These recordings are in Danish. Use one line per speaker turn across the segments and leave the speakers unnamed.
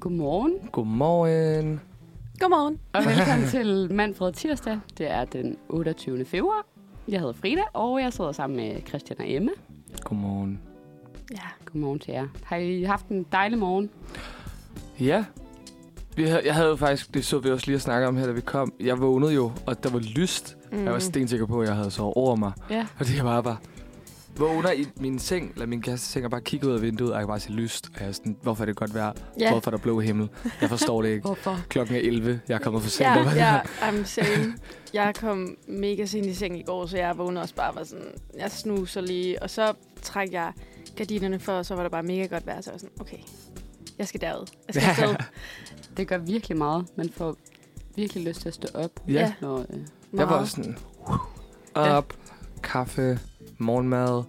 Godmorgen,
Godmorgen.
Godmorgen.
og velkommen til Manfred Tirsdag. Det er den 28. februar. Jeg hedder Frida, og jeg sidder sammen med Christian og Emma.
Godmorgen.
Ja.
Godmorgen til jer. Har I haft en dejlig morgen?
Ja. Vi havde, jeg havde jo faktisk, det så vi også lige at snakke om her, da vi kom. Jeg vågnede jo, og der var lyst. Mm. Jeg var stensikker på, at jeg havde sovet over mig.
Ja.
Og det var bare... Vågner i min seng, eller min kæreste og bare kigger ud af vinduet, og jeg kan bare se lyst. Og jeg er sådan, hvorfor er det godt vejr?
Ja.
Hvorfor er der blå himmel? Jeg forstår det ikke.
Hvorfor?
Klokken er 11. Jeg er kommet for sent.
Ja,
der var-
ja, I'm same. Jeg kom mega sent i seng i går, så jeg vågnede også bare og var sådan, jeg snuser lige, og så trak jeg gardinerne for, og så var der bare mega godt vejr, så jeg var sådan, okay, jeg skal derud. Jeg skal
Ja.
afsted.
Det gør virkelig meget. Man får virkelig lyst til at stå op.
ja.
Når, øh,
Jeg var
Meget.
også sådan,
Ja.
op, kaffe, morgenmad,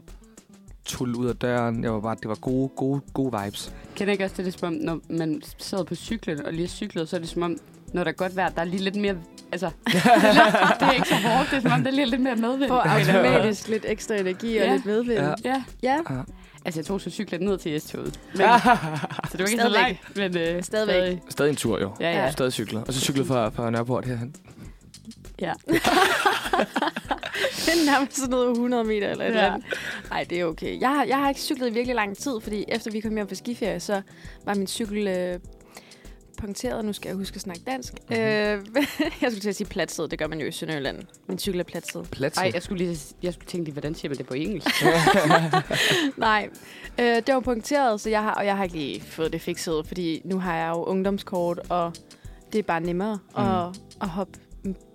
tulle ud af døren. Jeg var bare, det var gode, gode, gode vibes.
Kender ikke også det, det er som om, når man sidder på cyklen og lige har cyklet, så er det som om, når der er godt vejr, der er lige lidt mere... Altså, det er ikke så hårdt, det er som om, der er lige lidt mere medvind.
Får automatisk lidt ekstra energi og
Ja.
lidt medvind.
Ja.
Ja.
Ja,
ja.
altså jeg tog så cyklen ned til S-toget. Men, så det var ikke så
Stadigvæk.
langt, men øh,
Stadigvæk.
stadig.
Stadig en tur, jo.
Ja, ja.
Ja.
Stadig cykler. Og så cykler fra, fra Nørreport herhen.
ja.
Det er nærmest sådan noget 100 meter eller et
Ja.
eller andet. Ej, det er okay. Jeg har, jeg har ikke cyklet i virkelig lang tid, fordi efter vi kom hjem fra skiferie, så var min cykel øh, punkteret. Nu skal jeg huske at snakke dansk.
Mhm.
Mm-hmm. Øh, jeg skulle til at sige platset. Det gør man jo i Sønderjylland. Min cykel er platset.
Plads.
Ej, jeg skulle lige jeg skulle tænke lige, hvordan siger man det på engelsk?
Nej, øh, det var punkteret, så jeg har, og jeg har ikke lige fået det fikset, fordi nu har jeg jo ungdomskort, og det er bare nemmere mm. at, at hoppe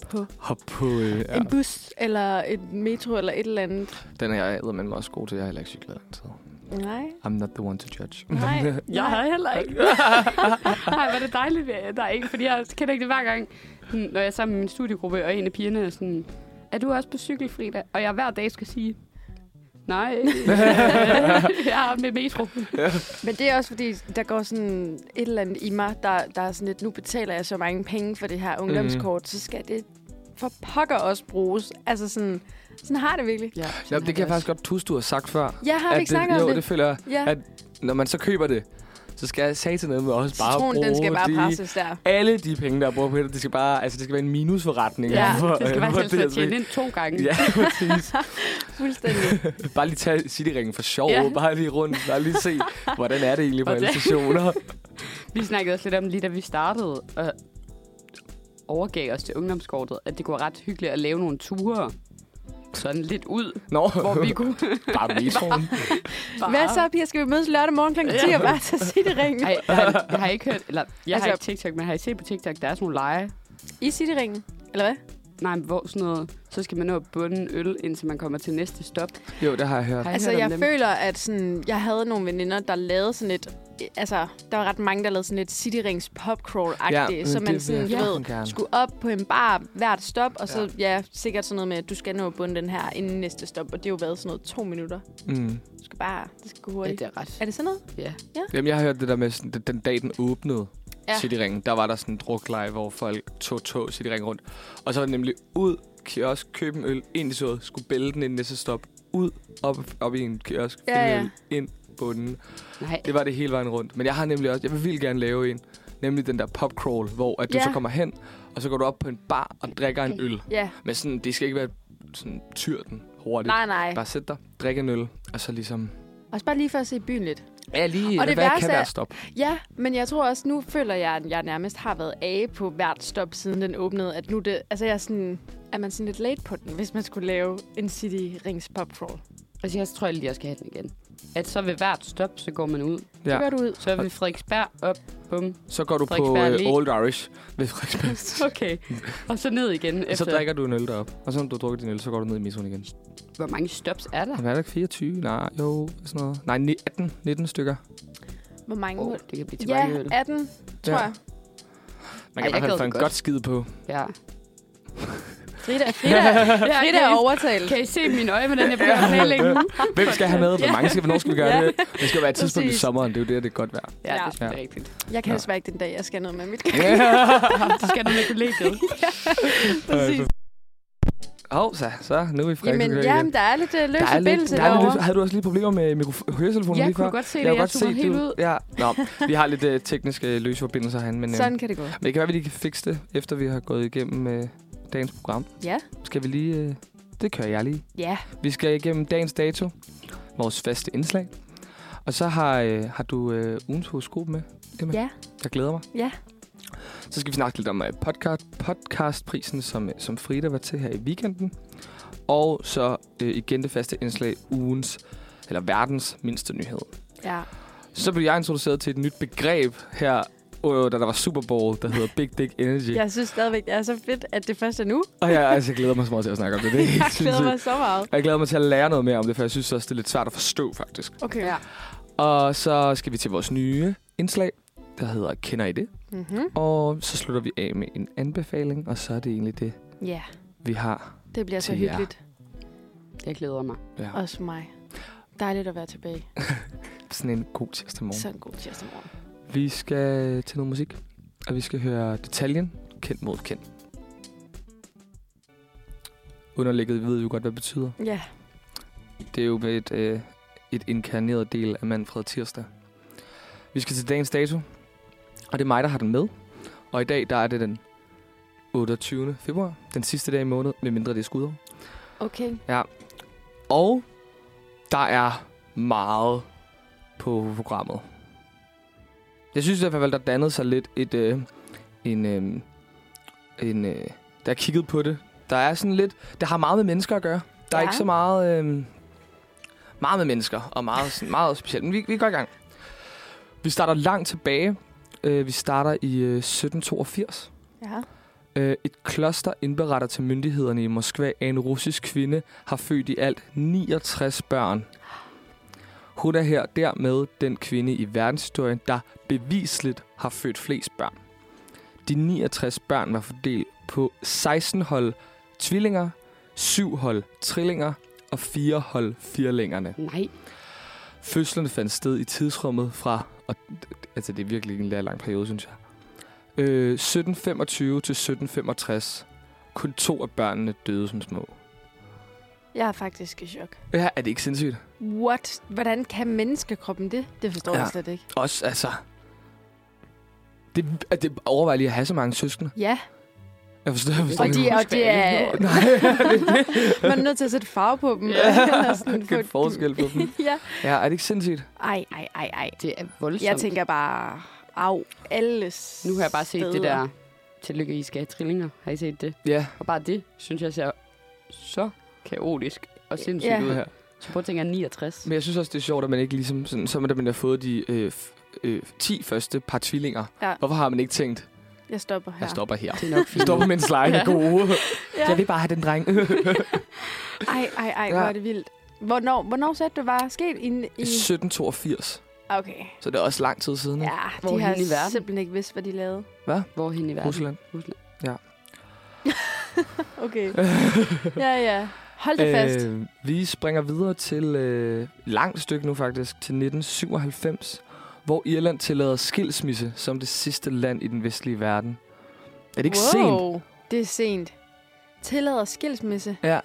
på
Hop på. Øh, ja.
ja. en bus, eller et metro, eller et eller andet.
Den er jeg æder, men også god til. Jeg har heller ikke cyklet lang tid.
Nej,
I'm not the one to judge.
nej,
Jeg
nej.
havde heller ikke. Nej, var det dejligt, at der er ikke, fordi jeg kender ikke det hver gang, sådan, når jeg er sammen med min studiegruppe, og en af pigerne er sådan, er du også på cykel, Frida? Og jeg hver dag skal sige, nej, jeg er med metro.
Men det er også fordi, der går sådan et eller andet i mig, der, der er sådan lidt, nu betaler jeg så mange penge for det her
Mhm.
ungdomskort, mm. så skal det for pokker også bruges. Altså sådan, sådan har jeg det virkelig.
Ja,
Ja, det kan jeg faktisk godt tuske, du har sagt før.
Jeg har
At
vi ikke snakket
det, jo,
om det.
det føler jeg,
ja,
at når man så køber det, så skal jeg sige til noget med også bare
citronen,
bruge
den skal bare
de,
presses der.
alle de penge, der er brugt på det. Det skal bare, altså det skal være en minusforretning.
Ja,
for-
det skal
for
faktisk helst
altså
være tjent
ikke-
ind to gange.
Ja, præcis.
Fuldstændig.
Bare lige tage Cityringen for sjov.
Ja.
Ja. Bare lige rundt. Bare lige se, hvordan er det egentlig på alle
Hvordan-
stationer.
Vi snakkede også lidt om, lige da vi startede og overgav os til ungdomskortet, at det kunne være ret hyggeligt at lave nogle ture sådan lidt ud,
Nå,
hvor vi kunne
bare metroen.
bare...
Hvad så, Pia? Skal vi mødes lørdag morgen kl. 10 og bare tage Cityringen?
Ej, har, jeg har ikke hørt, eller jeg altså, har ikke
Altså-
TikTok, men har I set på TikTok, der er sådan nogle lege?
I Cityringen? Eller hvad?
Nej, men hvor sådan noget, så skal man nå at bunde en øl, indtil man kommer til næste stop. Har
Jo, det har jeg hørt.
I
Altså,
hørt om
jeg
dem?
føler, at sådan, jeg havde nogle veninder, der lavede sådan et... Altså, der var ret mange, der lavede sådan et Cityrings popcrawl-agtigt, ja, så man sådan, du ved, skulle op på en bar hvert stop, og så ja. ja sikkert sådan noget med, at du skal nå at bunde den her inden næste stop, og det har jo været sådan noget to minutter.
Mm.
Du skal bare, det skal gå
Ja,
hurtigt.
det er ret.
Er det sådan noget?
Ja.
Jamen, jeg har hørt det der med, sådan, den- den dag, den åbnede ja.
Ja.
Cityringen, der var der sådan en drukleje, hvor folk tog tog Cityringen rundt. Og så var det nemlig ud, kiosk, købe en øl, ind i såret, skulle bælge den inden næste stop, ud, op, op i en kiosk,
Ja,
finde ja,
ja.
øl, ind, bunden.
Nej,
Det var det hele vejen rundt. Men jeg har nemlig også, jeg vil vildt gerne lave en, nemlig den der popcrawl, hvor at du
Ja.
så kommer hen, og så går du op på en bar og drikker en øl.
Ja.
Men sådan, det skal ikke være sådan tyrten hurtigt.
Nej, nej.
Bare sæt dig, drik en øl, og så ligesom...
Også bare lige for at se byen lidt.
Ja, lige,
Og det
hvad kan
værste er-
være stop?
Ja, men jeg tror også, nu føler jeg, at jeg nærmest har været af på hvert stop, siden den åbnede. At nu det, altså jeg er sådan, er man sådan lidt late på den, hvis man skulle lave en City Rings popcrawl.
altså jeg tror jeg lige, jeg skal have den igen. At så ved hvert stop, så går man ud.
Ja. Det gør du ud.
Så er vi Frederiksberg op, bum,
Så går du på
Frederiksberg Allé.
uh, Old Irish ved Frederiksberg.
Okay. Og så ned igen
og
efter...
så drikker du en øl derop. Og så når du har drukket din øl, så går du ned i metroen igen.
Hvor mange stops er der?
Hvad er der ikke 24? Nej, jo, sådan noget. Nej, ni- 18, 19 stykker.
Hvor mange
Oh,
oh,
det kan blive til
Ja,
mange øl.
18, tror
Ja.
ja. jeg.
Man
Ej, jeg
kan i hvert
gad
fald
det
få en
godt.
godt. skid på.
Ja.
Frida, Frida, Frida
kan
er
I-
overtalt.
Kan I se i mine øje, hvordan jeg begynder at planlægge nu?
Hvem skal have med? Hvor mange skal, hvornår skal vi gøre
Ja.
det? Det skal være et tidspunkt i
Præcis.
sommeren. Det er jo det, det er godt vejr.
Ja, det
Ja.
er selvfølgelig
Ja.
rigtigt.
Jeg kan
Nå.
desværre ikke den dag, jeg skal ned med mit
Det skal du med kollegiet.
Præcis.
Hov, så, så nu er vi frække.
Jamen, jamen, der er lidt øh, løs
der er lidt,
forbindelse
der er lidt,
derovre.
løs- havde du også lige problemer med mikrof- høretelefonen
Jeg
lige
kunne
før?
du godt se det. Jeg, jeg tog helt ud.
Ja. Nå, vi har lidt øh, tekniske løse forbindelser herinde, men, øh,
Sådan kan det gå.
men det kan være, at vi lige kan fikse det, efter vi har gået igennem øh, dagens program.
Ja.
Skal vi lige... Øh, det kører jeg lige.
Ja.
Vi skal igennem dagens dato, vores faste indslag. Og så har, øh, har du øh, ugens horoskop med, Emma.
Ja.
Jeg glæder mig.
Ja.
Så skal vi snakke lidt om øh, podcast, podcastprisen, som, øh, som Frida var til her i weekenden. Og så øh, igen det faste indslag, ugens, eller verdens mindste nyhed.
Ja.
Så blev jeg introduceret til et nyt begreb her, øh, da der var Super Bowl, der hedder Big Dick Energy.
Jeg synes stadigvæk, det er så fedt, at det først er nu.
Og jeg, altså, jeg glæder mig så meget til at snakke om det. det er helt
Jeg glæder
sindssygt.
mig så meget.
Og jeg glæder mig til at lære noget mere om det, for jeg synes også, det er lidt svært at forstå, faktisk.
Okay.
Ja.
Og så skal vi til vores nye indslag, der hedder Kender I det?
Mm-hmm.
Og så slutter vi af med en anbefaling, og så er det egentlig det,
Ja,
vi har.
det bliver så
Til jer.
hyggeligt.
Jeg glæder mig.
Ja.
Også for mig. Dejligt at være tilbage.
Sådan en god tirsdag morgen. Så.
Sådan en god tirsdag morgen.
Vi skal til noget musik, og vi skal høre detaljen kendt mod kendt. Underlægget ved vi jo godt, hvad det betyder.
Ja.
Det er jo med et, øh, et inkarneret del af Manfred Tirsdag. Vi skal til dagens dato, og det er mig, der har den med. Og i dag, der er det den 28. februar, den sidste dag i måneden, medmindre det er skudår.
Okay.
Og der er meget på programmet. Jeg synes i hvert fald, der dannede sig lidt et... Øh, en, øh, en, øh, der er kigget på det. Der er sådan lidt... Der har meget med mennesker at gøre. Der er
Ja.
ikke så meget... Øh, meget med mennesker, og meget, sådan, meget specielt. Men vi, vi går i gang. Vi starter langt tilbage. Øh, vi starter i øh, 1782.
Ja.
Øh, Et kloster indberetter til myndighederne i Moskva, at en russisk kvinde har født i alt 69 børn. Hun er her dermed den kvinde i verdenshistorien, der bevisligt har født flest børn. De 69 børn var fordelt på 16 hold tvillinger, 7 hold trillinger og 4 hold firlængerne.
Nej.
Fødslerne fandt sted i tidsrummet fra... Og, altså, det er virkelig en lang periode, synes jeg. Øh, 1725 til 1765. Kun to af børnene døde som små.
Jeg er faktisk i chok.
Ja, er det ikke sindssygt?
What? Hvordan kan menneskekroppen det? Det forstår
Ja.
ja. jeg slet ikke.
Også, altså... Det, at det overvejer lige at have så mange søskende.
Ja,
Jeg forstår, jeg forstår
og de,
ikke.
og de er...
Nej, det er det.
Man er nødt til at sætte farve på dem. Eller sådan
Kan
få-
forskel på dem.
ja.
Ja, er det ikke sindssygt?
Ej, ej, ej, ej.
Det er voldsomt.
Jeg tænker bare, au, alles
Nu har jeg bare set det
steder.
der, tillykke, I skal have trillinger. Har I set det?
Ja.
Og bare det, synes jeg ser så kaotisk og sindssygt
Ja.
ud.
ja.
Så prøv at tænke, at 69.
Men jeg synes også, det er sjovt, at man ikke ligesom... Sådan, så er man, da man har fået de øh, f- øh, 10 første par tvillinger.
Ja.
Hvorfor har man ikke tænkt,
Jeg stopper her.
Jeg stopper her.
Det er nok
Vi
fint.
stopper med en slime ja. gode.
Ja.
Jeg vil bare have den dreng.
Ej, ej, ej,
Ja.
hvor er det vildt. Hvornår, hvornår sagde du, det var sket? I, en-
I
i...
1782.
Okay.
Så det er også lang tid siden. ikke?
Ja,
Hvor
de har
hen i verden?
simpelthen ikke vidst, hvad de lavede.
Hvor hen i verden?
Rusland.
Rusland.
Okay. ja, ja. Hold da fast.
Øh, vi springer videre til øh, langt stykke nu faktisk, til 1997, hvor Irland tillader skilsmisse som det sidste land i den vestlige verden. Er det ikke wow. sent?
sent? Det er sent. Tillader skilsmisse.
Ej,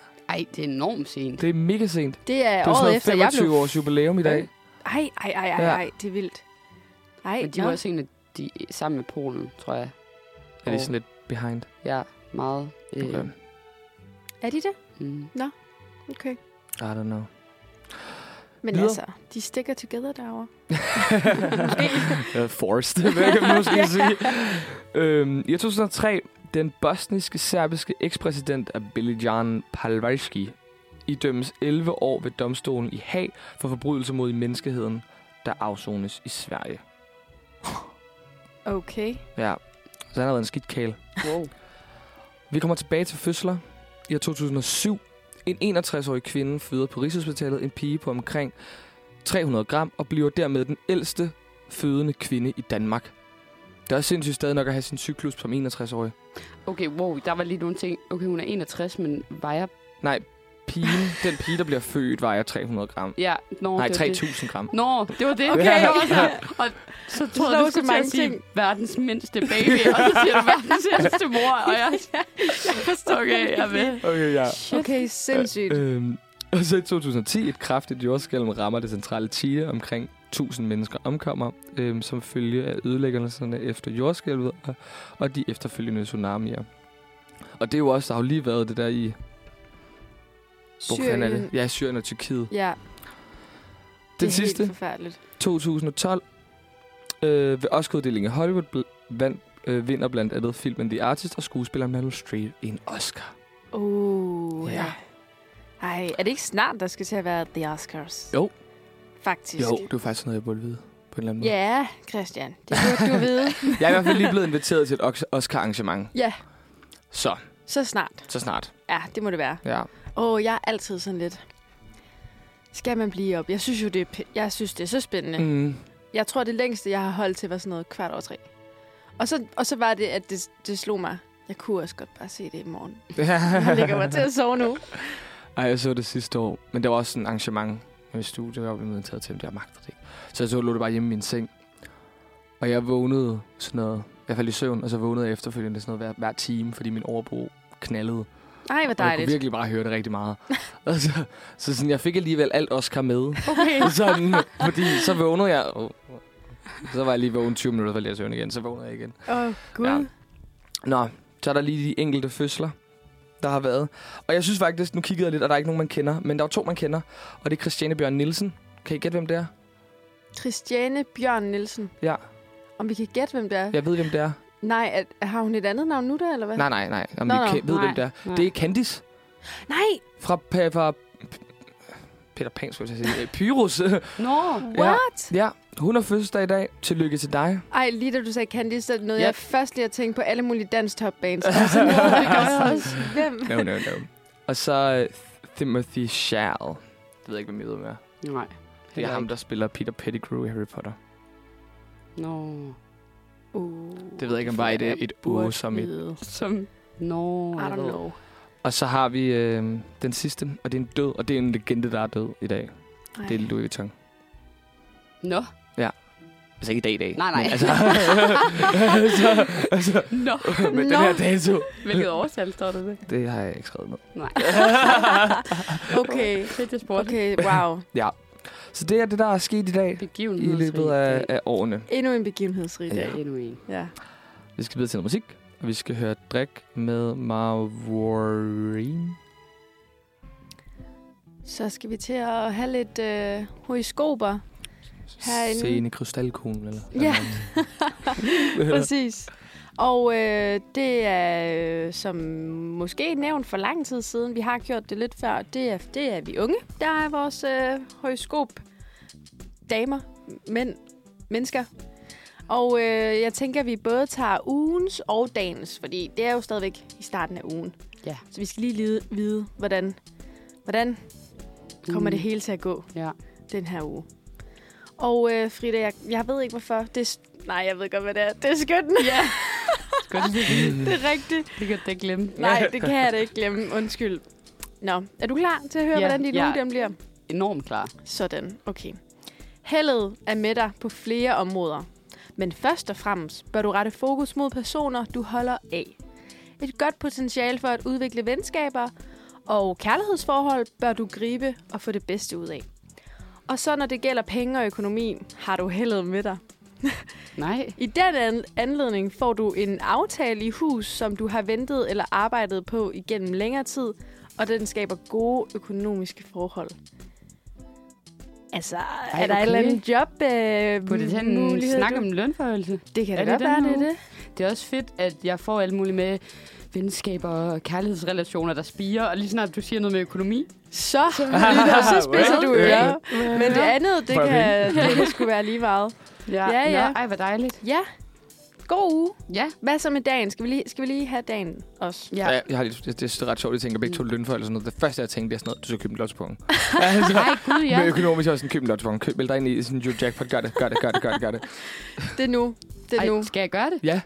det er enormt sent.
Det er mega sent. Det
Det er,
er jo sådan
året
noget
efter, jeg
25
blev...
års jubilæum i dag.
Ej, ej, ej, ej,
Ja.
ej, det er vildt. Ej,
Men de
nå.
var også en af de, sammen med Polen, tror jeg.
Er det sådan lidt behind?
Ja, meget. Øh,
Okay.
okay.
Er de det?
mm,
Okay.
I don't know.
Men
Videre.
altså, de stikker together derovre.
Uh, forced, hvad kan man nu skal sige. Øhm, I 2003, den bosniske serbiske ekspræsident Abelijan Palvarski idømmes 11 år ved domstolen i Haag for forbrydelser mod menneskeheden, der afsones i Sverige.
Okay.
Ja, så han har været en skidt kæl.
wow.
Vi kommer tilbage til fødsler. I år 2007, en 61-årig kvinde føder på Rigshospitalet en pige på omkring 300 gram og bliver dermed den ældste fødende kvinde i Danmark. Det er også sindssygt stadig nok at have sin cyklus som 61-årig.
Okay, wow, der var lige nogle ting. Okay, hun er 61, men vejer
Nej, pigen, den pige, der bliver født, vejer 300 gram.
Ja, nå,
Nej,
det var det.
3.000 gram.
Nå, det var det.
Okay,
jeg var
ja.
sådan, og så troede
slår
jeg,
så
du skulle til
mange
at sige,
ting.
verdens mindste baby, og så siger du verdens ældste mor, og jeg, okay, jeg er med.
Okay, ja.
Okay, sindssygt.
Øhm, og så i 2010, et kraftigt jordskælv rammer det centrale Chile. Omkring 1000 mennesker omkommer, øhm, som følge af ødelæggelserne efter jordskælvet og, og de efterfølgende tsunamier. Og det er jo også, der har jo lige været det der i... Hvor fanden er det? Ja, Syrien og Tyrkiet.
Ja, det
Den
er
sidste,
helt forfærdeligt.
2012, øh, ved Oscar-uddelingen i Hollywood, bl- vandt, øh, vinder blandt andet filmen The Artist og skuespilleren Meryl Streep en Oscar.
Oh,
Ja.
ja. Ej, er det ikke snart, der skal til at være The Oscars?
Jo.
Faktisk.
Jo, det var faktisk noget, jeg burde vide på en eller anden måde.
Ja, Christian. Det burde du vide.
Jeg er i hvert fald lige blevet inviteret til et Ox- Oscar-arrangement.
Ja.
Så,
Så snart.
så snart.
Ja, det må det være.
Ja.
Åh, oh, jeg er altid sådan lidt... Skal man blive op? Jeg synes jo, det er, p- jeg synes, det er så spændende. Mm.
Mm.
Jeg tror, det længste, jeg har holdt til, var sådan noget kvart over tre. Og så, og så var det, at det, det slog mig. Jeg kunne også godt bare se det i morgen. Jeg lægger mig til at sove nu.
Ej, jeg så det sidste år. Men der var også sådan et arrangement med mit studie, jeg blev inviteret til, men jeg magtede det ikke. Så jeg så lå det bare hjemme i min seng. Og jeg vågnede sådan noget. Jeg faldt i søvn, og så vågnede jeg efterfølgende sådan noget hver, hver time, fordi min overbo knaldede.
Ej,
Og
hvor
jeg kunne
dejligt.
virkelig bare høre det rigtig meget. og så, så sådan, jeg fik alligevel alt Oscar med.
Okay.
sådan, fordi så vågnede jeg. Oh. Så var jeg lige vågen 20 minutter, for lige at søvn igen. Så vågnede jeg igen.
Åh, oh, gud.
Ja. Nå, så er der lige de enkelte fødsler, der har været. Og jeg synes faktisk, nu kiggede jeg lidt, og der er ikke nogen, man kender. Men der er jo to, man kender. Og det er Christiane Bjørn Nielsen. Kan I gætte, hvem det er?
Christiane Bjørn Nielsen.
Ja,
Om vi kan gætte, hvem det er?
jeg ved, hvem det er.
Nej, er, har hun et andet navn nu der, eller hvad?
Nej, nej, nej. Jamen,
Nå,
vi
nå,
kan, ved,
nej,
hvem det er.
nej.
Det er Candice
Nej,
fra, pa- fra Peter Pan, skulle jeg til at sige. Øh, Pyrus.
Nå,
what?
ja, hun har fødselsdag i dag. Tillykke til dig.
Ej, lige da du sagde Candice, så nåede
Ja.
jeg først lige at tænke på alle mulige danstopbands. Og så nåede jeg også, hvem?
No, no, no. og så øh, Timothy Chalamet. Det ved jeg ikke, hvem jeg ved, hvem er.
nej.
Det er ham, der spiller Peter Pettigrew i Harry Potter.
Nå,
Uh,
Det ved jeg ikke, om bare et, et uge som et.
I
som... Nå, jeg
don't
ved.
know.
Og så har vi øh, den sidste, og det er en død, og det er en legende, der er død i dag. Ej. Det er Louis Vuitton.
Nå,
Altså ikke i dag i dag.
Nej, nej.
Men, altså, altså, altså,
nå,
med den
Nå.
her dato.
hvilket årsal står der det?
Det har jeg ikke skrevet ned.
Nej.
Okay.
Fedt, jeg spurgte.
Okay, wow.
Så det er det, der er sket i dag i
Begivenhedsrig
løbet af, af årene.
Endnu en begivenhedsrig
dag.
dag.
Ja, endnu en.
Ja.
Vi skal videre til noget musik, og vi skal høre Drik med Marwarine.
Så skal vi til at have lidt øh, horoskoper. Herinde.
Sene krystalkuglen, eller?
Ja.
eller-
Præcis. Og øh, det er, øh, som måske nævnt for lang tid siden, vi har gjort det lidt før, det er, det er vi unge. Der er vores øh, højskop damer, mænd, mennesker. Og øh, jeg tænker, at vi både tager ugens og dagens, fordi det er jo stadigvæk i starten af ugen.
Ja.
Så vi skal lige lide, vide, hvordan, hvordan kommer
Mm.
det hele til at gå
Ja.
den her uge. Og øh, Frida, jeg, jeg ved ikke hvorfor. Det er, s- nej, jeg ved godt, hvad det er. Det er skøtten. Ja,
Godt, det,
det er rigtigt.
det kan jeg da ikke glemme.
Nej, det kan jeg da ikke glemme. Undskyld. Nå, er du klar til at høre,
Ja,
ja, hvordan din
ja.
ja. uge den bliver?
Enormt klar.
Sådan, okay. Heldet er med dig på flere områder. Men først og fremmest bør du rette fokus mod personer, du holder af. Et godt potentiale for at udvikle venskaber og kærlighedsforhold bør du gribe og få det bedste ud af. Og så når det gælder penge og økonomi, har du heldet med dig.
Nej.
I den an- anledning får du en aftale i hus, som du har ventet eller arbejdet på igennem længere tid, og den skaber gode økonomiske forhold. Altså, Ej, er der
okay.
et eller andet job øh,
På det her en
mulighed,
snak
du-
om lønforhøjelse.
Det kan
er det
da godt
den
være,
her
det er
uge?
det.
Det er også fedt, at jeg får alt muligt med venskaber og kærlighedsrelationer, der spiger. Og lige snart du siger noget med økonomi,
Så, så spidser du
Well,
ører. Men det andet, det
For
kan, det kan sgu være lige meget. Ja,
Nå,
ja.
Ej, hvor dejligt.
Ja, god uge.
Ja.
Hvad så med dagen? Skal vi lige, skal vi lige have dagen også?
ja.
Ja. Jeg har lige, det, det er ret sjovt, at jeg tænker begge to lønfor eller sådan noget. Det første, jeg tænkte, det er sådan noget, du skal købe en lottopunkt. altså,
Ej, gud, ja.
ja. Med økonomisk også sådan, køb en lottopunkt. Køb, meld dig ind i sådan en jackpot. Gør det, gør det, gør det, gør det, gør det.
Det er nu. Det er nu.
Ej, skal jeg gøre det?
Ja,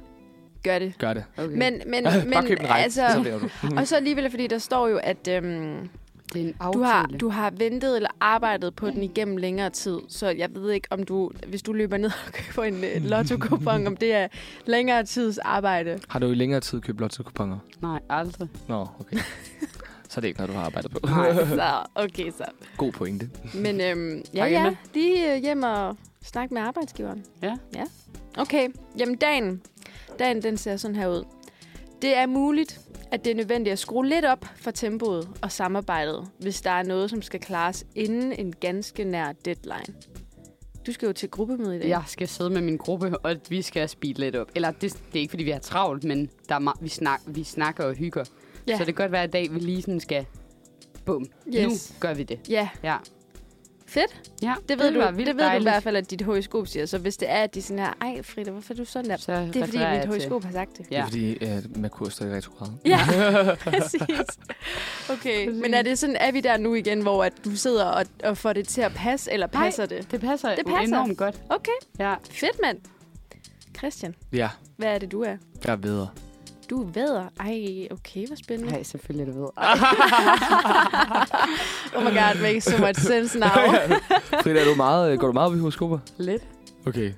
Gør det.
gør det.
Okay.
Men,
Men,
men,
Bare
men altså-
køb en rejse, altså, så vinder du.
Og så alligevel, fordi der står jo, at øhm,
Det er en aftale.
Du har, du har ventet eller arbejdet på den igennem længere tid, så jeg ved ikke, om du, hvis du løber ned og køber en øh, lotto om det er længere tids arbejde.
Har du i længere tid købt lotto-kuponer?
Nej, aldrig.
Nå, okay. Så er det ikke noget, du har arbejdet på.
Nej, så okay så.
God pointe.
Men øhm, ja,
Hej,
ja,
Emma.
lige øh, hjem og snak med arbejdsgiveren.
Ja.
ja. Okay, jamen dagen, dagen den ser sådan her ud. Det er muligt, at det er nødvendigt at skrue lidt op for tempoet og samarbejdet, hvis der er noget, som skal klares inden en ganske nær deadline. Du skal jo til gruppemøde i dag.
Jeg skal sidde med min gruppe, og vi skal speede lidt op. Eller det, det er ikke, fordi vi har travlt, men der er ma- vi, snak, vi snakker og hygger.
Ja.
Ja. Så det kan godt være, at i dag vi lige sådan skal... Bum.
Yes.
Nu gør vi det.
ja.
Ja.
Fedt.
ja
Det ved,
var
det du,
vildt
det ved du i
dejligt.
hvert fald, at dit horoskop siger. Så hvis det er, at de er sådan her, ej Frida, hvorfor er du sådan der?
Så
Det er fordi,
refererer jeg
mit
til-
horoskop har sagt det.
Ja. Det
Ja.
er fordi, øh, Merkur står i retrograd.
Ja, præcis. Okay, men er det sådan, er vi der nu igen, hvor at du sidder og, og får det til at passe, eller
Nej.
passer det?
Det passer,
Det
det
passer.
passer. enormt godt.
Okay,
Ja.
fedt mand. Christian,
Ja,
hvad er det, du er?
jeg er videre.
Du er vædder. Ej, okay, hvor spændende.
Nej, selvfølgelig, du ved.
Oh my god, makes so much sense now.
Frida, er du meget, øh, går du meget op i horoskoper?
Lidt.
Okay.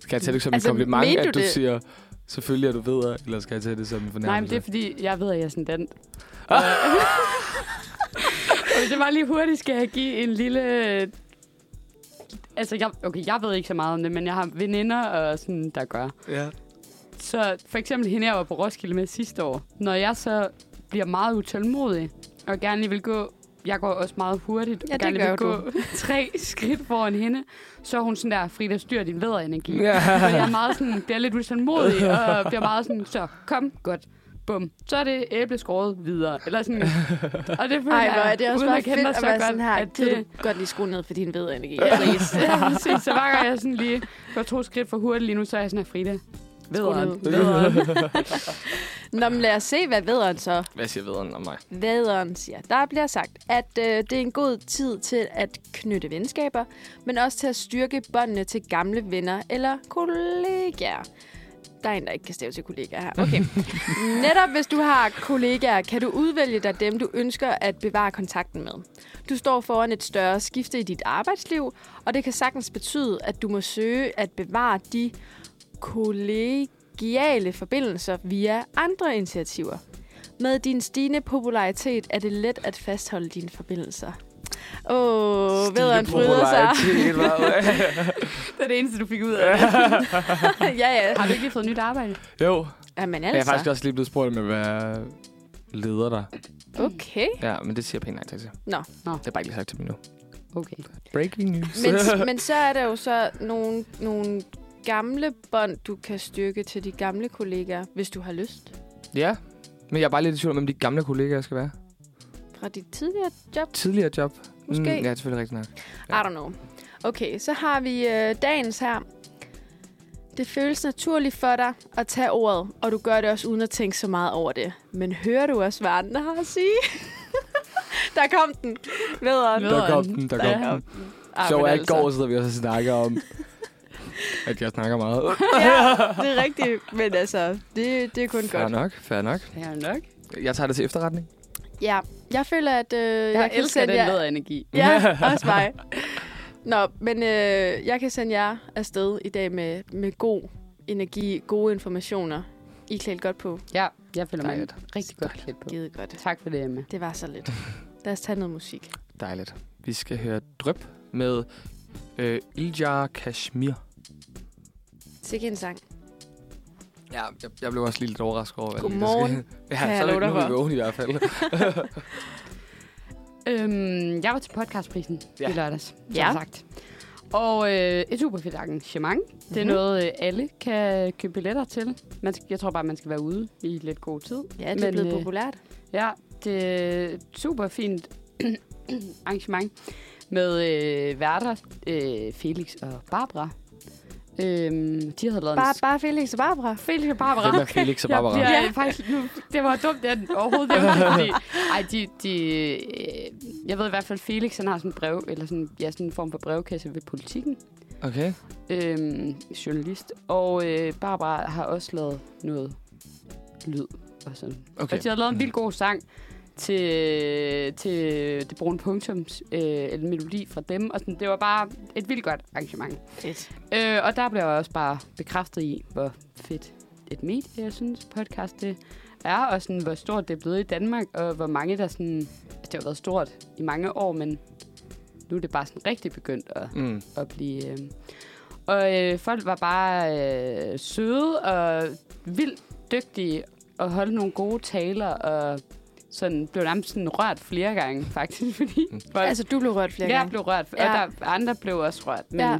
Skal jeg tage det som altså,
Altså,
en kompliment,
mente
at
du
du
det?
det? siger, selvfølgelig er du videre, eller skal jeg tage det som en fornærmelse?
Nej, men det er fordi, jeg ved, at jeg er sådan den. Og Og hvis jeg bare lige hurtigt skal give en lille... Altså, jeg, okay, jeg ved ikke så meget om det, men jeg har veninder, og sådan, der gør.
Ja.
Så for eksempel hende, jeg var på Roskilde med sidste år. Når jeg så bliver meget utålmodig, og gerne lige vil gå... Jeg går også meget hurtigt, og
Ja, det
gerne lige vil
gør
gå tre skridt foran hende. Så er hun sådan der, Frida, styr din vædderenergi.
Ja.
Så jeg er meget sådan, bliver lidt utålmodig, og bliver meget sådan, så kom, godt. Bum. Så er det æbleskåret videre. Eller sådan. Og det føler
Ej, hvor er
jeg,
det også
uden
bare
at kende
fedt
dig
at
så
være
godt,
sådan her.
at
Kan
det,
du godt lige skrue ned for din vædderenergi?
Ja, præcis. Så hver gang jeg sådan lige går to skridt for hurtigt lige nu, så er jeg sådan her, Frida. Vederen.
ned. Nå, men lad os se, hvad vædderen så
Hvad siger vederen om mig?
Vaderen siger, der bliver sagt, at øh, det er en god tid til at knytte venskaber, men også til at styrke båndene til gamle venner eller kollegaer. Der er en, der ikke kan stave til kollegaer her. Okay. Netop hvis du har kollegaer, kan du udvælge dig dem, du ønsker at bevare kontakten med. Du står foran et større skifte i dit arbejdsliv, og det kan sagtens betyde, at du må søge at bevare de kollegiale forbindelser via andre initiativer. Med din stigende popularitet er det let at fastholde dine forbindelser. Åh, ved at fryder sig.
Det er det eneste, du fik ud af det.
ja, ja.
Har du ikke lige fået nyt arbejde?
jo,
Jamen
jeg er faktisk
altså.
også lige blevet spurgt, om jeg vil være leder der.
Okay.
Ja, men det siger jeg pænt nej tak til.
Nå.
Nå.
Det er bare ikke lige sagt til mig nu.
Okay.
Breaking news.
Men, men så er der jo så nogle, nogle gamle bånd, du kan styrke til de gamle kollegaer, hvis du har lyst.
ja, men jeg er bare lidt i tvivl om, hvem de gamle kollegaer skal være.
Fra dit tidligere job.
Tidligere job.
Måske.
Mm, ja, det er selvfølgelig rigtigt nok.
I don't know. Okay, så har vi øh, dagens her. Det føles naturligt for dig at tage ordet, og du gør det også uden at tænke så meget over det. Men hører du også, hvad andre har at sige? der kom den. Vederen.
Der kom den, der
Der
kom den.
kom den. Ah,
Sjov
men
er, i går sidder vi også og snakker om, at jeg snakker meget.
ja, det er rigtigt, men altså, det, det er kun
Fair
godt.
nok, fair nok.
Fair nok.
Jeg tager det til efterretning.
Ja, jeg føler, at øh, jeg,
Jeg, jeg
kan
elsker
sende
den
jer...
ja. energi.
Ja, også mig. Nå, men øh, jeg kan sende jer afsted i dag med, med god energi, gode informationer. I er klædt godt på.
Ja, jeg føler mig
Dejligt.
rigtig godt klædt på.
Givet godt.
Tak for det, Emma.
Det var så lidt. Lad os tage noget musik.
Dejligt. Vi skal høre Drøb med øh, Ilja Kashmir.
Sikke en sang.
Ja, jeg, jeg blev også lige lidt overrasket over, hvad det er, der
Godmorgen,
sker. ja,
jeg
så er
love
det
dig
nu er
for.
vi vågen i hvert fald.
Øhm, jeg var til podcastprisen
Ja.
ja. i lørdags, som
Ja.
ja. sagt. Og øh, et super fedt arrangement. Det er
Mhm.
mm-hmm. noget, øh, alle kan købe billetter til. Man skal, jeg tror bare, man skal være ude i lidt god tid.
Ja, det er
Men,
blevet
øh,
populært.
Ja, det er et super fint arrangement med øh, værter øh, Felix og Barbara. Øhm, de havde lavet en...
Bare,
sk-
bare Felix og Barbara.
Felix og Barbara.
Hvem er Felix og Barbara?
Jeg bliver
Ja.
ja. faktisk nu, det var dumt, at den overhovedet nævnte det, fordi, ej, de, de, øh, jeg ved i hvert fald, Felix han har sådan en brev, eller sådan, ja, sådan en form for brevkasse ved politikken,
Okay.
øhm, journalist, og øh, Barbara har også lavet noget lyd og sådan.
Okay. Mm.
Og de har lavet en vildt god sang, til, til det brune punktums øh, en melodi fra dem. Og sådan, det var bare et vildt godt arrangement.
Fedt.
Øh, og der blev jeg også bare bekræftet i, hvor fedt et medie, jeg synes, podcast det er, og sådan, hvor stort det er blevet i Danmark, og hvor mange der sådan... Altså, det har været stort i mange år, men nu er det bare sådan rigtig begyndt at,
Mm.
at blive... Øh, og øh, folk var bare øh, søde og vildt dygtige og holdt nogle gode taler og sådan blev nærmest sådan rørt flere gange, faktisk, fordi
Mm.
folk,
Altså, du blev rørt flere
jeg
gange.
blev rørt, og
Ja.
der, andre blev også rørt, men
Ja.
ja.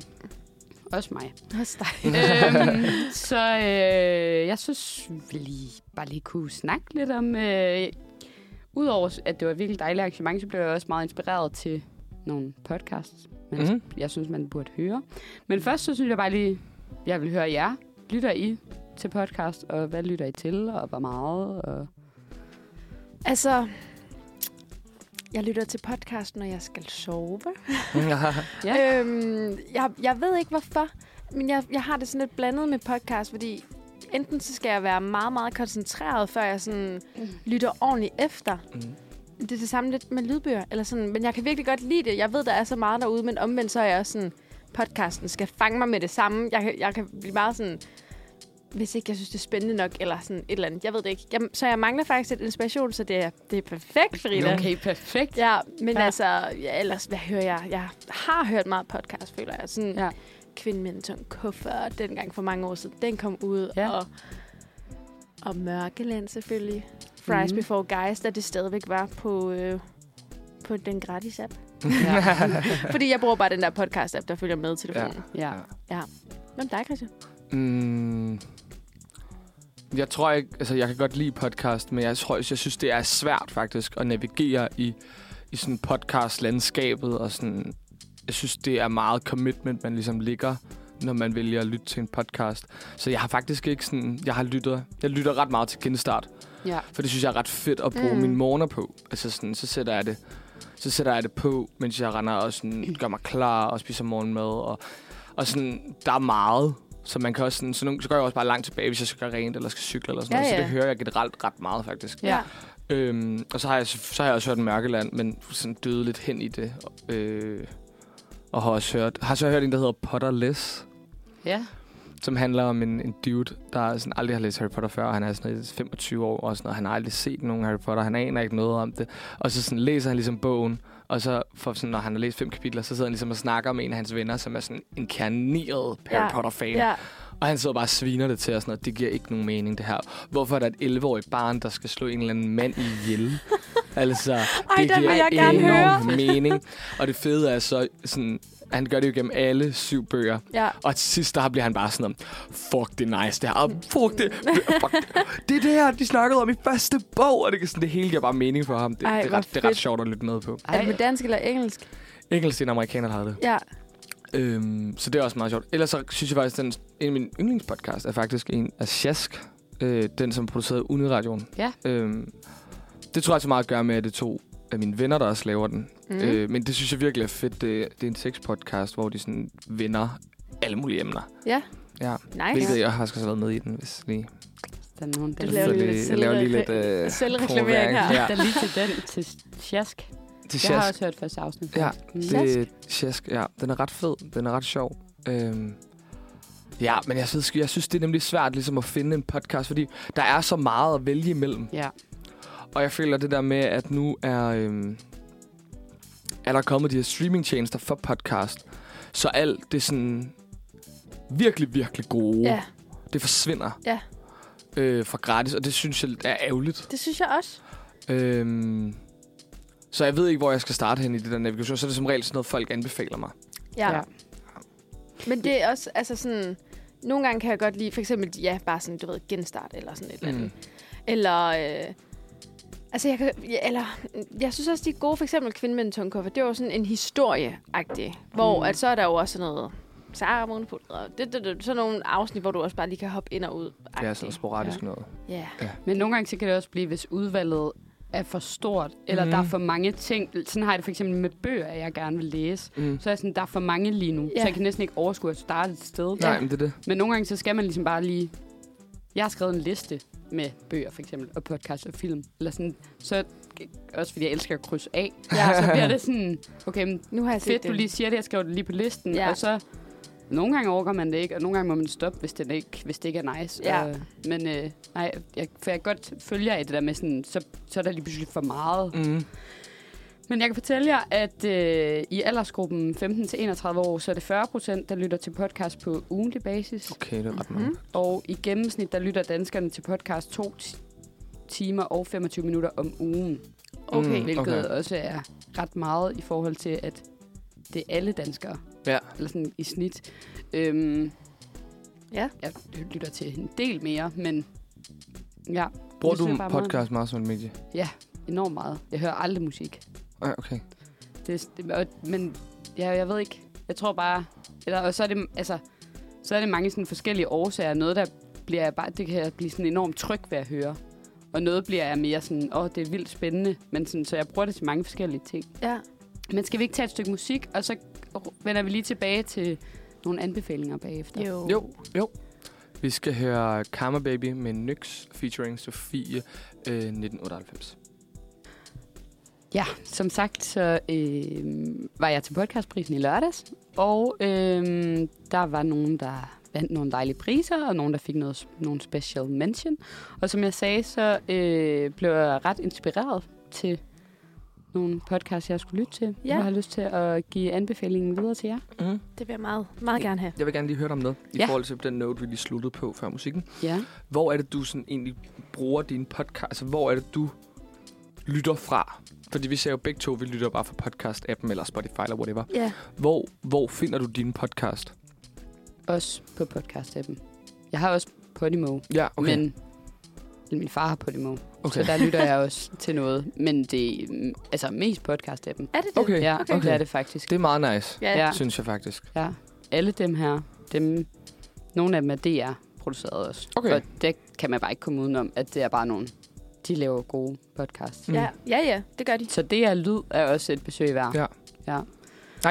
også mig.
Også dig.
øhm, så øh, jeg synes, vi lige, bare lige kunne snakke lidt om... Øh, Udover at det var et virkelig dejligt arrangement, så blev jeg også meget inspireret til nogle podcasts, man
Mm.
jeg synes, man burde høre. Men først så synes jeg bare lige, jeg vil høre jer. Lytter I til podcast, og hvad lytter I til, og hvor meget? Og...
Altså, jeg lytter til podcast, når jeg skal sove.
Mm.
Ja.
Øhm, jeg, jeg ved ikke, hvorfor, men jeg, jeg har det sådan lidt blandet med podcast, fordi enten så skal jeg være meget, meget koncentreret, før jeg sådan lytter ordentligt efter.
Mm.
Det er det samme lidt med lydbøger, eller sådan, men jeg kan virkelig godt lide det. Jeg ved, der er så meget derude, men omvendt så er jeg også sådan, podcasten skal fange mig med det samme. Jeg, kan- jeg kan blive meget sådan, hvis ikke jeg synes, det er spændende nok, eller sådan et eller andet. Jeg ved det ikke. Jeg, så jeg mangler faktisk lidt inspiration, så det er, det er perfekt, Frida.
Okay, perfekt.
Ja, men ja.
Ja.
altså, ja, ellers, hvad hører jeg? Jeg har hørt meget podcast, føler jeg. Sådan ja.
Ja.
Kvinden med en tung kuffert, dengang for mange år siden, den kom ud. Ja.
Ja.
Og, og Mørkeland selvfølgelig. Fries mm.
Mhm.
Before Guys, da det stadigvæk var på, øh, på den gratis app.
ja.
Fordi jeg bruger bare den der podcast app, der følger med telefonen. Ja.
ja.
Hvem dig, Christian?
Mm. Jeg tror ikke, altså jeg kan godt lide podcast, men jeg tror, jeg synes, det er svært faktisk at navigere i, i sådan podcast-landskabet, og sådan, jeg synes, det er meget commitment, man ligesom ligger, når man vælger at lytte til en podcast. Så jeg har faktisk ikke sådan, jeg har lyttet, jeg lytter ret meget til genstart,
ja.
for det synes jeg er ret fedt at bruge
Mm.
mm. mine morgener på. Altså sådan, så sætter jeg det, så sætter jeg det på, mens jeg render og sådan, gør mig klar og spiser morgenmad. Og, og sådan, der er meget. Så man kan også sådan, så, nogle, så går jeg også bare langt tilbage, hvis jeg skal gøre rent eller skal cykle eller sådan
Ja,
noget. Så
ja.
det hører jeg generelt ret meget, faktisk.
Ja.
Øhm, og så har, jeg, så har jeg også hørt Mørkeland, men sådan døde lidt hen i det. Øh, og har også hørt, har så hørt en, der hedder Potterless
ja.
som handler om en, en dude, der sådan aldrig har læst Harry Potter før, og han er sådan noget 25 år, og, sådan, noget, og han har aldrig set nogen Harry Potter, han aner ikke noget om det. Og så sådan læser han ligesom bogen, og så for sådan, når han har læst fem kapitler, så sidder han ligesom og snakker med en af hans venner, som er sådan en kerneret Harry
Ja.
Potter-fan.
ja.
Og han sidder bare og sviner det til og sådan noget. Det giver ikke nogen mening, det her. Hvorfor er der et 11-årigt barn, der skal slå en eller anden mand ihjel? altså, det
den vil
giver
jeg gerne
enorm mening. Og det fede er så, sådan, han gør det jo gennem alle syv bøger.
ja.
Og til sidst, der bliver han bare sådan om, fuck det er nice det her, og fuck det, fuck det, det er det her, de snakkede om i første bog, og det, kan sådan, det hele giver bare mening for ham. Det,
Ej,
Ej, det,
hvor
er, ret, det er
fedt.
ret sjovt at lytte med på.
Er det
Ej,
på dansk eller engelsk?
Engelsk, det er en amerikaner, der har det.
Ja.
Øhm, så det er også meget sjovt. Ellers så synes jeg faktisk, at den, en af mine yndlingspodcast er faktisk en af Sjask, øh, den som producerede Uniradioen.
Ja.
Øhm, det tror jeg så meget at gøre med, at det er to af mine venner, der også laver den.
Mhm.
Mm.
Mm. Øh, men det synes jeg virkelig er fedt. Det, det er en sexpodcast, hvor de sådan vender alle mulige emner.
Ja.
Ja.
Nice.
Hvilket jeg har skal så været med i den, hvis lige...
der er nogen, der,
Det
lige,
laver vi
lige,
lidt
jeg laver lige lidt
selvrekla-
øh,
selvreklamering
promovering.
her.
Ja,
der lige til den, til Sjask.
til
Jeg har
Sjask.
også hørt første afsnit.
Ja,
Mm.
Det, sjask, ja. Den er ret fed. Den er ret sjov. Øhm, ja, men jeg synes, jeg synes, det er nemlig svært ligesom at finde en podcast, fordi der er så meget at vælge imellem.
Ja.
Og jeg føler det der med, at nu er, øhm, er der kommet de her streamingtjenester for podcast. Så alt det sådan virkelig, virkelig gode,
Ja,
det forsvinder
Ja.
øh, for gratis. Og det synes jeg er ærgerligt.
det synes jeg også.
Øhm, så jeg ved ikke, hvor jeg skal starte hen i det der navigation. Så er det som regel sådan noget, folk anbefaler mig.
Ja. ja.
Ja.
Men det er også, altså sådan... Nogle gange kan jeg godt lide, for eksempel, ja, bare sådan, du ved, genstart eller sådan et eller andet. Mm. Eller, øh, altså jeg kan, ja, eller, jeg synes også, de er gode, for eksempel Kvinden med en tung kuffert, det var jo sådan en historie hvor at så er der jo også sådan noget, Sara og Månefuld, og det, det, det, sådan nogle afsnit, hvor du også bare lige kan hoppe ind og ud.
Det er sådan sporadisk ja. noget.
Ja.
Men nogle gange så kan det også blive, hvis udvalget er for stort, eller
Mhm.
der er for mange ting. Sådan har jeg det for eksempel med bøger, jeg gerne vil læse.
Mm.
Så er jeg sådan, der er for mange lige nu,
Ja.
så jeg kan næsten ikke overskue at starte et sted.
Nej, men det er det.
Men nogle gange, så skal man ligesom bare lige... Jeg har skrevet en liste med bøger, for eksempel, og podcast og film. Eller sådan. Så også fordi jeg elsker at krydse af. Ja. Så bliver det sådan, okay, men
Nu har jeg set
fedt,
det.
du lige siger det, jeg skriver det lige på listen.
Ja.
Ja. Og så, nogle gange overgår man det ikke, og nogle gange må man stoppe, hvis det ikke, hvis det ikke er nice.
Ja.
Øh, men øh, nej, jeg, for jeg kan godt følger af det der med sådan, så, så er der lige pludselig for meget.
Mm.
Men jeg kan fortælle jer, at øh, i aldersgruppen 15-31 år, så er det 40 procent, der lytter til podcast på ugentlig basis.
Okay, det er ret mange.
Og i gennemsnit, der lytter danskerne til podcast 2 timer og 25 minutter om ugen. Mm,
Okay.
Hvilket
okay.
også er ret meget i forhold til, at det er alle danskere.
Ja.
Eller sådan i snit. Øhm,
Ja.
Jeg lytter til en del mere, men ja,
Bruger
Det synes
du
jeg bare er
podcast meget som et medie?
enormt meget. Jeg hører aldrig musik.
Ah, okay.
Det, det, og, men ja, jeg ved ikke. Jeg tror bare... Eller, og så er det, altså, så er det mange sådan forskellige årsager. Noget, der bliver jeg bare, det kan jeg blive sådan enormt tryg ved at høre. Og noget bliver jeg mere sådan, åh, det er vildt spændende. Men sådan, så jeg bruger det til mange forskellige ting.
Ja.
Men skal vi ikke tage et stykke musik, og så vender vi lige tilbage til nogle anbefalinger bagefter?
Jo.
Jo, jo. Vi skal høre Karma Baby med Nyx featuring Sofie øh, 1998.
Ja, som sagt, så øh, var jeg til podcastprisen i lørdags, og øh, der var nogen, der vandt nogle dejlige priser, og nogen, der fik noget, nogle special mention. Og som jeg sagde, så øh, blev jeg ret inspireret til nogle podcasts, jeg skulle lytte til.
Ja.
Jeg har lyst til at give anbefalingen videre til jer.
Mm.
Det vil jeg meget, meget gerne have.
Jeg vil gerne lige høre dig om noget i
Mhm. Ja.
forhold til den note, vi lige sluttede på før musikken.
Ja.
Hvor er det, du sådan egentlig bruger din podcast? Altså, hvor er det, du lytter fra? Fordi vi ser jo begge to, vi lytter bare fra podcast-appen eller Spotify eller whatever.
Ja.
Hvor, hvor finder du din podcast?
Også på podcast-appen. Jeg har også Podimo,
Ja,
okay. men eller min far har Podimo,
okay.
okay. så der lytter jeg også til noget. Men det er mm, altså mest podcast-appen.
Er det det?
Okay,
Ja,
okay.
okay. det er det faktisk.
Det er meget nice,
Ja.
Ja.
ja. synes jeg faktisk.
Ja. Alle dem her, dem, nogle af dem er DR-produceret også.
Okay.
Og det kan man bare ikke komme udenom, at det er bare nogen, de laver gode podcasts.
Mm.
Ja. ja, ja, det gør de.
Så DR Lyd er også et besøg værd.
Ja. Nej,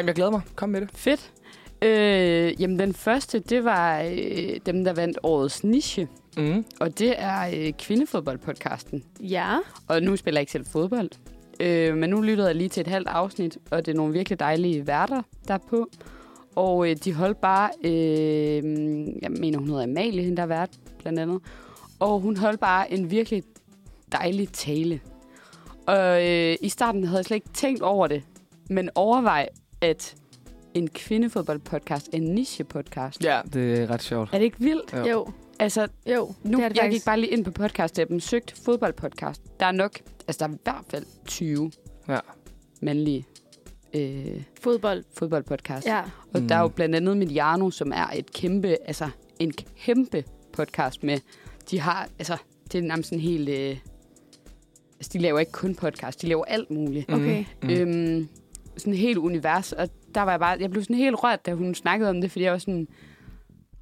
men jeg glæder mig. Kom med det.
Fedt. Øh, jamen, den første, det var øh, dem, der vandt årets niche.
Mm.
Og det er øh, kvindefodboldpodcasten.
Ja.
Og nu spiller jeg ikke selv fodbold. Øh, men nu lyttede jeg lige til et halvt afsnit, og det er nogle virkelig dejlige værter, der er på. Og øh, de holdt bare, øh, jeg mener hun hedder Amalie, hende der er vært blandt andet. Og hun holdt bare en virkelig dejlig tale. Og øh, i starten havde jeg slet ikke tænkt over det, men overvej, at en kvindefodboldpodcast er en niche-podcast.
Ja, det er ret sjovt.
Er det ikke vildt?
Ja.
Jo,
Altså,
jo.
nu,
det er det
jeg
faktisk.
gik bare lige ind på podcast-appen, søgte fodboldpodcast. Der er nok, altså der er i hvert fald 20
Ja.
mandlige øh,
Fodbold.
fodboldpodcast.
Ja.
Og
Mm.
der er jo blandt andet Mediano, som er et kæmpe, altså en kæmpe podcast med, de har, altså det er nærmest en helt, øh, altså de laver ikke kun podcast, de laver alt muligt.
Okay.
Mm.
Mm. Mm.
Øhm, sådan et helt univers, og der var jeg bare, jeg blev sådan helt rørt, da hun snakkede om det, fordi jeg var sådan,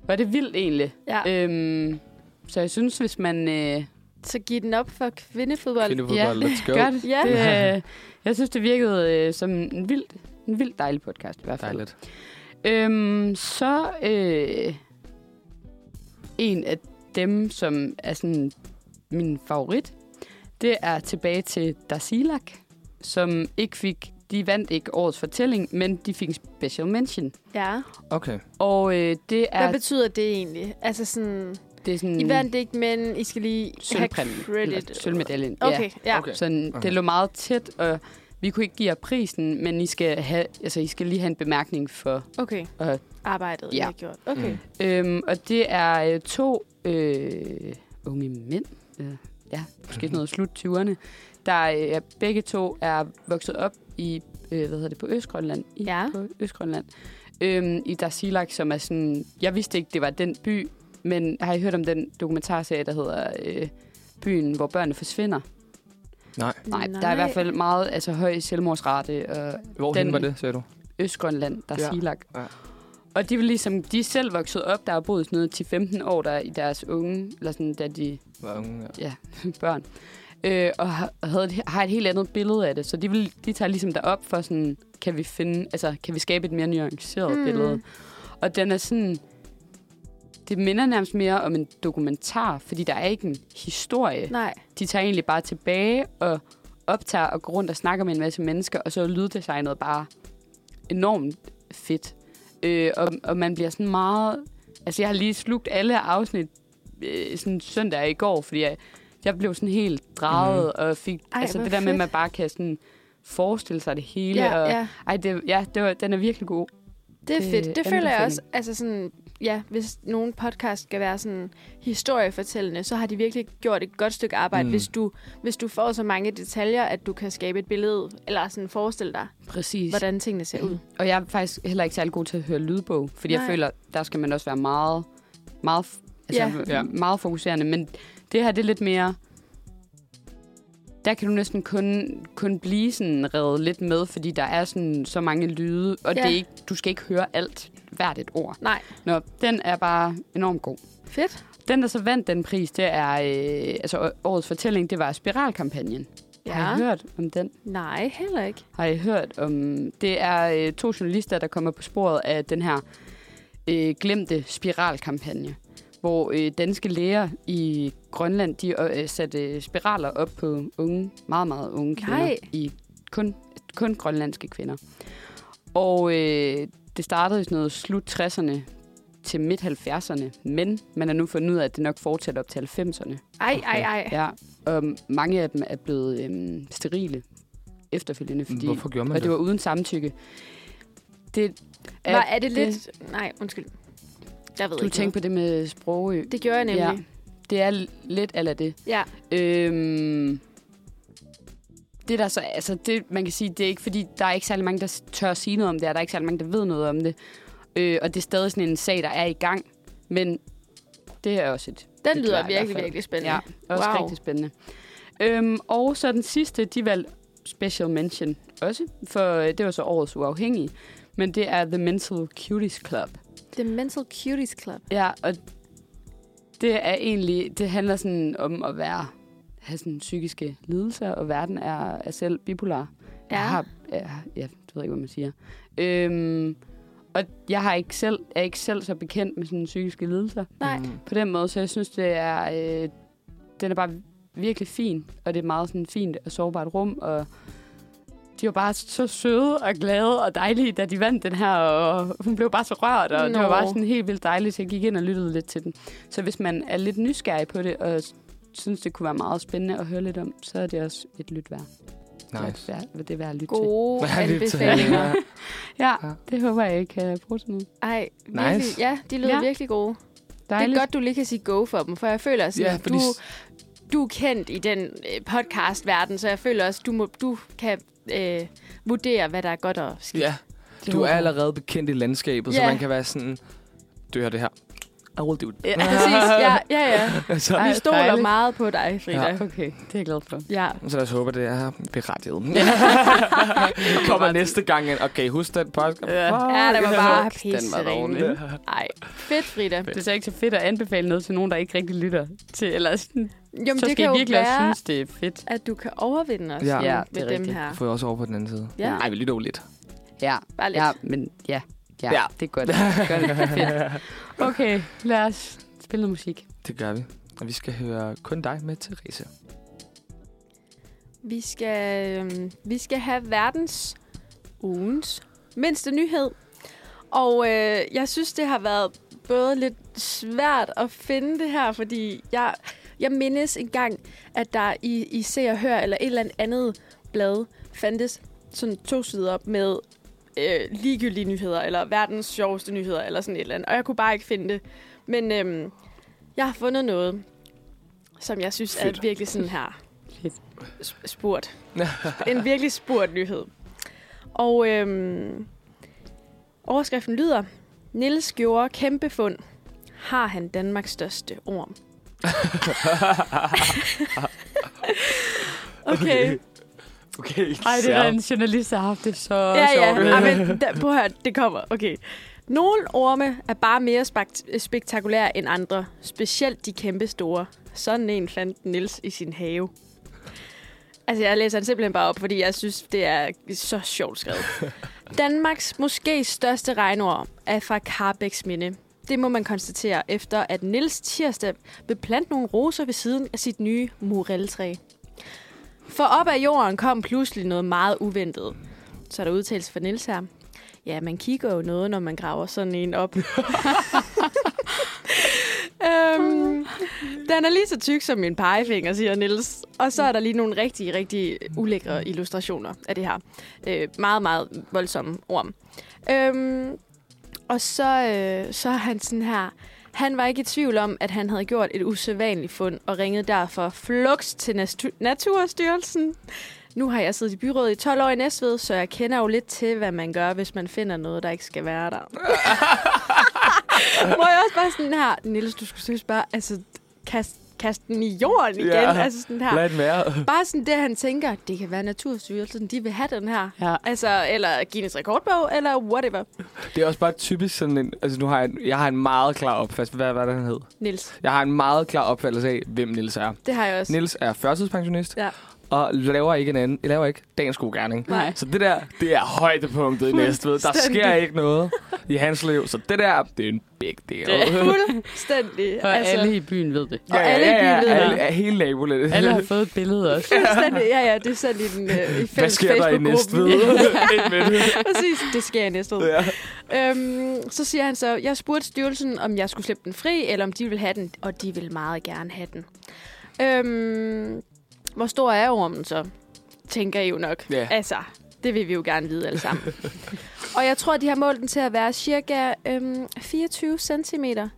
var det vildt egentlig?
Ja. Øh.
Øhm, så jeg synes, hvis man øh,
Så giv den op for kvindefodbold.
Kvindefodbold,
Ja.
let's go.
gør det,
Ja.
det øh, jeg synes, det virkede øh, som en vild, en vild dejlig podcast i hvert fald.
Dejligt.
Øhm, så øh, en af dem, som er sådan min favorit, det er tilbage til Dasilak, som ikke fik, de vandt ikke årets fortælling, men de fik en special mention.
Ja.
Okay.
Og øh, det
Hvad
er,
betyder det egentlig? Altså sådan,
det er sådan
I vandt ikke, men I skal lige have
sølvpræmien, Mm. eller
credit.
sølvmedaljen. ja.
Okay, ja.
Okay.
Sådan,
Okay.
okay. Det lå meget tæt, og vi kunne ikke give jer prisen, men I skal, have, altså, I skal lige have en bemærkning for.
Okay.
Og-
Arbejdet,
Ja.
ja. jeg har gjort. Okay.
Mm.
Mm.
Øhm, og det er øh, to øh, unge mænd, øh, ja, måske sådan noget slut 20'erne, der øh, begge to er vokset op i, øh, hvad hedder det, på Østgrønland. I,
Ja.
På Østgrønland. Øhm, I Darsilak, som er sådan, jeg vidste ikke, det var den by, men har I hørt om den dokumentarserie, der hedder øh, Byen, hvor børnene forsvinder?
Nej.
Nej, Nej, Mm. der er i hvert fald meget altså, høj selvmordsrate og
Hvor den...
Den-
var det, sagde du?
Østgrønland, der er
Ja.
ja. Silak.
Ja.
Ja. Og de er vel ligesom, de er selv vokset op, der har boet sådan noget 10-15 år der i deres unge, eller sådan, da de
Var unge, ja.
børn, øh, og har, havde, et- har et helt andet billede af det. Så de, vil, de tager ligesom derop for sådan, kan vi finde, altså, kan vi skabe et mere nuanceret
Mm.
mm. billede? Og den er sådan, det minder nærmest mere om en dokumentar, fordi der er ikke en historie
Nej.
de tager egentlig bare tilbage og optager og går rundt og snakker med en masse mennesker, og så er lyddesignet bare enormt fedt. Øh, og, og man bliver sådan meget... Altså, jeg har lige slugt alle afsnit øh, sådan søndag i går, fordi jeg, jeg blev sådan helt draget,
Mhm.
mm. og fik... Ej, altså, det der fedt. med, at man bare kan sådan forestille sig det hele.
Ja,
og,
ja.
Ej, det, ja, det var, den er virkelig god.
Det er fedt.
øh,
Det, det føler jeg også. Altså sådan, ja, hvis nogen podcast skal være sådan historiefortællende, så har de virkelig gjort et godt stykke arbejde, mm. hvis, du, hvis du får så mange detaljer, at du kan skabe et billede, eller sådan forestille dig,
Præcis.
hvordan tingene ser ud.
Mm. Og jeg er faktisk heller ikke særlig god til at høre lydbog, fordi Nej. jeg føler, der skal man også være meget, meget, altså ja. meget fokuserende. Men det her, det er lidt mere der kan du næsten kun, kun blive sådan reddet lidt med, fordi der er sådan så mange lyde, og ja. det er ikke, du skal ikke høre alt, hvert et ord.
Nej.
Nå, den er bare enormt god.
Fedt.
Den, der så vandt den pris, det er, øh, altså årets fortælling, det var Spiralkampagnen. Ja. Har I hørt om den?
Nej, heller ikke.
Har I hørt om, det er øh, to journalister, der kommer på sporet af den her øh, glemte spiralkampagne hvor øh, danske læger i Grønland de øh, satte spiraler op på unge, meget, meget unge kvinder.
Nej.
I kun, kun grønlandske kvinder. Og øh, det startede i sådan noget slut 60'erne til midt-70'erne, men man har nu fundet ud af, at det nok fortsætter op til 90'erne.
Ej, okay. ej, ej.
Ja, og mange af dem er blevet øh, sterile efterfølgende, fordi,
Hvorfor gjorde
og
man
det?
det
var uden samtykke. Det
er, Var, er det lidt... Det, nej, undskyld. Jeg ved
du
ikke
tænkte noget. på det med sprogø.
Det gjorde jeg nemlig. Ja.
Det er lidt eller det.
Ja.
Øhm, det der så, altså det, man kan sige, det er ikke fordi, der er ikke særlig mange, der tør at sige noget om det, og der er ikke særlig mange, der ved noget om det. Øh, og det er stadig sådan en sag, der er i gang. Men det er også et...
Den lyder klar, virkelig, virkelig spændende.
Ja, også wow. rigtig spændende. Øhm, og så den sidste, de valgte special mention også, for øh, det var så årets uafhængige. Men det er The Mental Cuties Club.
The Mental Cuties Club.
Ja, og det er egentlig, det handler sådan om at være, have sådan psykiske lidelser, og verden er, er selv bipolar.
Ja.
Jeg har, jeg, jeg ved ikke, hvad man siger. Øhm, og jeg har ikke selv, er ikke selv så bekendt med sådan psykiske lidelser.
Nej.
Mm,
På den måde, så jeg synes, det er, øh, den er bare virkelig fin, og det er meget sådan fint og sårbart rum, og de var bare så søde og glade og dejlige, da de vandt den her, og hun blev bare så rørt, og no. det var bare sådan helt vildt dejligt, så jeg gik ind og lyttede lidt til den. Så hvis man er lidt nysgerrig på det, og synes, det kunne være meget spændende at høre lidt om, så er det også et lyt værd.
Nice.
Det er, det er værd at lytte
Gode
Ja, lidt til.
anbefalinger.
til. Ja, det håber jeg, I kan bruge til noget.
Ej,
Nice.
virkelig, nice. ja, de lyder
Ja.
ja. virkelig gode.
Dejligt.
Det er godt, du lige kan sige go for dem, for jeg føler sådan,
Ja,
ja,
fordi
du, du er kendt i den øh, podcast-verden, så jeg føler også, du, må, du kan øh, vurdere, hvad der er godt og skidt.
Ja,
Det
du er
håber jeg.
allerede bekendt i landskabet, så
Ja.
man kan være sådan, du hører det her. I will do it.
Ja.
Præcis, ja, ja, ja.
så,
Ej,
Vi stoler
dejligt.
meget på dig, Frida. Ja.
Okay, det er jeg glad for.
ja.
så lad os håbe, at det er berettiget. Kommer næste gang ind. Okay, husk den podcast.
Ja, det var bare
Den var dårlig.
pisseringen. Ej, fedt, Frida.
Det er så ikke så fedt at anbefale noget til nogen, der ikke rigtig lytter til. Eller sådan,
Jamen,
så
det
skal
kan
I
jo
virkelig også
være,
synes, det er fedt.
at du kan overvinde os
Ja.
ja,
Ja,
ja,
det er
med dem
rigtigt.
her.
Får jeg også over på den anden side.
Ja.
Nej, vi lytter jo lidt.
Ja,
Bare lidt.
ja men ja. Ja,
Ja.
ja. det er godt. Det er godt. Det er fedt. Okay, lad os spille noget musik.
Det gør vi. Og vi skal høre kun dig med Therese.
Vi skal, øhm, vi skal have verdens ugens mindste nyhed. Og øh, jeg synes, det har været både lidt svært at finde det her, fordi jeg, jeg mindes engang, at der i, i Se og Hør eller et eller andet blad fandtes sådan to sider op med øh, ligegyldige nyheder, eller verdens sjoveste nyheder, eller sådan et eller andet. Og jeg kunne bare ikke finde det. Men øhm, jeg har fundet noget, som jeg synes Fedt. er
Fedt.
virkelig sådan her
Fedt.
sp- spurt. en virkelig spurt nyhed. Og øhm, overskriften lyder, Nils gjorde kæmpe fund. Har han Danmarks største orm? okay.
Okay.
Ej, det er da en journalist, der har haft det så
Ja,
sjovt.
ja. Ej, men da, prøv at høre, det kommer. Okay. Nogle orme er bare mere spekt- spektakulære end andre. Specielt de kæmpe store. Sådan en fandt Nils i sin have. Altså, jeg læser den simpelthen bare op, fordi jeg synes, det er så sjovt skrevet. Danmarks måske største regnorm er fra Carbæks Minde. Det må man konstatere, efter at Nils tirsdag vil plante nogle roser ved siden af sit nye moreltræ. For op af jorden kom pludselig noget meget uventet. Så er der udtales for Nils her. Ja, man kigger jo noget, når man graver sådan en op. øhm, den er lige så tyk som min pegefinger, siger Nils. Og så er der lige nogle rigtig, rigtig ulækre illustrationer af det her. Øh, meget, meget voldsomme orm. Øhm, og så, øh, så er han sådan her... Han var ikke i tvivl om, at han havde gjort et usædvanligt fund, og ringede derfor flux til Natu- Naturstyrelsen. Nu har jeg siddet i byrådet i 12 år i Næstved, så jeg kender jo lidt til, hvad man gør, hvis man finder noget, der ikke skal være der. Må jeg også bare sådan her, Niels, du skulle seriøst bare, altså, kast, kast den i jorden igen. Ja, altså sådan her.
Lad den være.
Bare sådan det, han tænker, det kan være Naturstyrelsen, de vil have den her.
Ja.
Altså, eller Guinness Rekordbog, eller whatever.
Det er også bare typisk sådan en... Altså, nu har jeg, jeg har en meget klar opfattelse. Hvad, hvad er det, han hed?
Niels.
Jeg har en meget klar opfattelse af, hvem Niels er.
Det har jeg også.
Niels er førtidspensionist.
Ja.
Og laver ikke en anden, laver ikke dagens gode gerning.
Nej.
Så det der, det er højdepunktet i Næstved. Der sker ikke noget i hans liv. Så det der, det er en big deal.
Fuldstændig.
Og altså. alle i byen ved det.
Og alle i byen ved det.
alle, Hele nabolandet.
Alle har fået et billede også.
Fuldstændig. Ja, ja, det er sådan i den øh, i
Hvad
fælles
sker der i Næstved?
Facebook-gruppen.
Ind med det.
Præcis, det sker i næste
Ja.
Øhm, så siger han så, jeg spurgte styrelsen, om jeg skulle slippe den fri, eller om de ville have den, og de vil meget gerne have den. Øhm, hvor stor er ormen så? Tænker I jo nok.
Ja.
Altså, det vil vi jo gerne vide alle sammen. og jeg tror, de har målt den til at være cirka øhm, 24 cm. Det er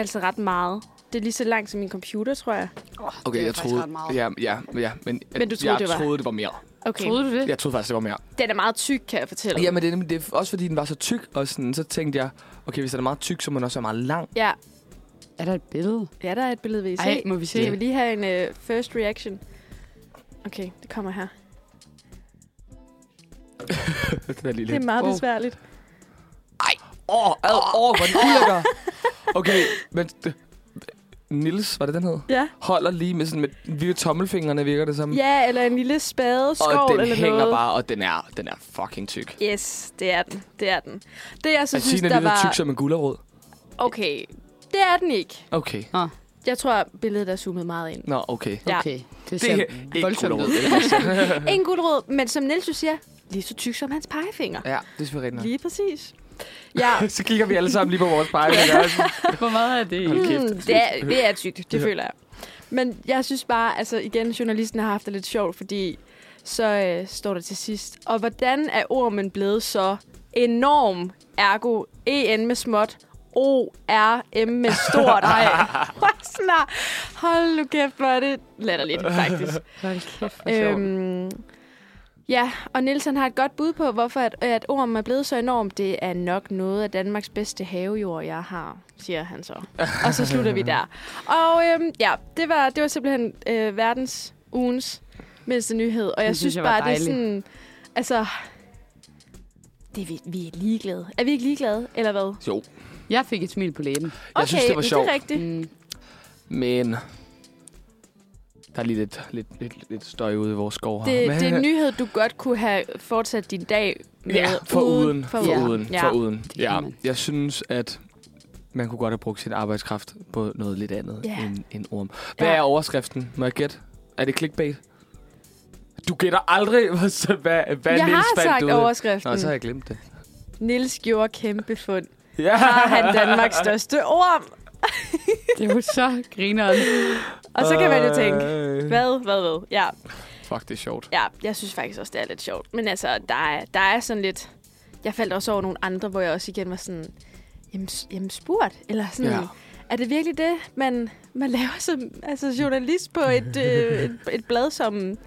altså ret meget. Det er lige så langt som min computer, tror jeg.
Okay, jeg troede... Ja, ja, ja, men,
Men du troede,
jeg
det var-
troede, det var mere.
Okay.
Troede du det?
Jeg troede faktisk, det var mere.
Den er meget tyk, kan jeg fortælle.
Ja, men det, er nemlig- det er også fordi, den var så tyk, og sådan, så tænkte jeg, okay, hvis den er meget tyk, så må den også være meget lang.
Ja,
Er der et billede?
ja der er et billede, vi I se.
Ej, må vi se?
Jeg vil lige have en uh, first reaction. Okay, det kommer her.
Det er lige
Det er
lidt.
meget
Wow.
besværligt.
Åh, oh, ad, åh, oh, hvor den ulækker. Okay, men... Det, Nils, var det den hed?
Ja.
Holder lige med sådan med virkelig tommelfingrene, virker det som.
Ja, eller en lille spade, skål
og den
eller
hænger
noget.
bare, og den er, den er fucking tyk.
Yes, det er den. Det er den. Det, jeg så
Jeg
synes,
siger, den
der
er lige
var...
så tyk som en gulerod.
Okay, det er den ikke.
Okay.
Jeg tror, billedet er zoomet meget ind.
Nå, okay.
Ja.
Okay, det
Det
ser
er
det,
ikke
voldsomt
gulerod.
ud.
det er voldsomt.
Ingen guldråd, men som Niels jo siger, lige så tyk som hans pegefinger.
ja, det er selvfølgelig rigtigt.
Lige præcis. Ja,
nok. Så kigger vi alle sammen lige på vores pejle.
Hvor meget er det?
Hold kæft.
Mm, det, er, det er tykt, det føler jeg. Men jeg synes bare, altså igen, journalisten har haft det lidt sjovt, fordi så øh, står der til sidst. Og hvordan er ormen blevet så enorm? Ergo, EN med småt, O-R-M med stort. Ej, snart. Hold nu kæft, hvor er det latterligt, faktisk.
Hold kæft, hvor sjovt.
Øhm, ja, og Nielsen har et godt bud på, hvorfor at, at ormen er blevet så enorm. Det er nok noget af Danmarks bedste havejord, jeg har, siger han så. Og så slutter vi der. Og øhm, ja, det var, det var simpelthen øh, verdens ugens mindste nyhed. Og jeg
Det synes
synes
jeg var
bare, det
dejligt.
er sådan... Altså, det, er vi, vi er ligeglade. Er vi ikke ligeglade, eller hvad? Okay,
jo,
Jeg fik et smil på læben.
Jeg synes, det var
men
sjovt.
Det er rigtigt.
Mm.
men... Der er lige lidt, lidt, lidt, lidt støj ude i vores skov her.
Det,
men,
det er en nyhed, du godt kunne have fortsat din dag med.
Ja, for uden. For
uden.
uden.
Ja.
For uden.
kan
Ja.
man.
Jeg synes, at man kunne godt have brugt sin arbejdskraft på noget lidt andet
Ja.
end, end orm. Hvad
Ja.
er overskriften? Må jeg gætte? Er det clickbait? Du gætter aldrig, hvad, hvad
Jeg
Niels
har
fandt
sagt
ud af.
overskriften.
Nå, så har jeg glemt det.
Nils gjorde kæmpe fund.
Ja.
Har han Danmarks største orm?
Det er jo så grineren.
Og så kan man jo tænke,
Øh.
hvad, hvad, hvad? Ja,
Fuck, det er sjovt.
ja, jeg synes faktisk også, det er lidt sjovt. Men altså, der er, der er sådan lidt... Jeg faldt også over nogle andre, hvor jeg også igen var sådan... Jamen, s- jamen spurgt? Eller sådan...
Ja.
Ja. Er det virkelig det, man, man laver som altså, journalist på et, øh, et, et blad, som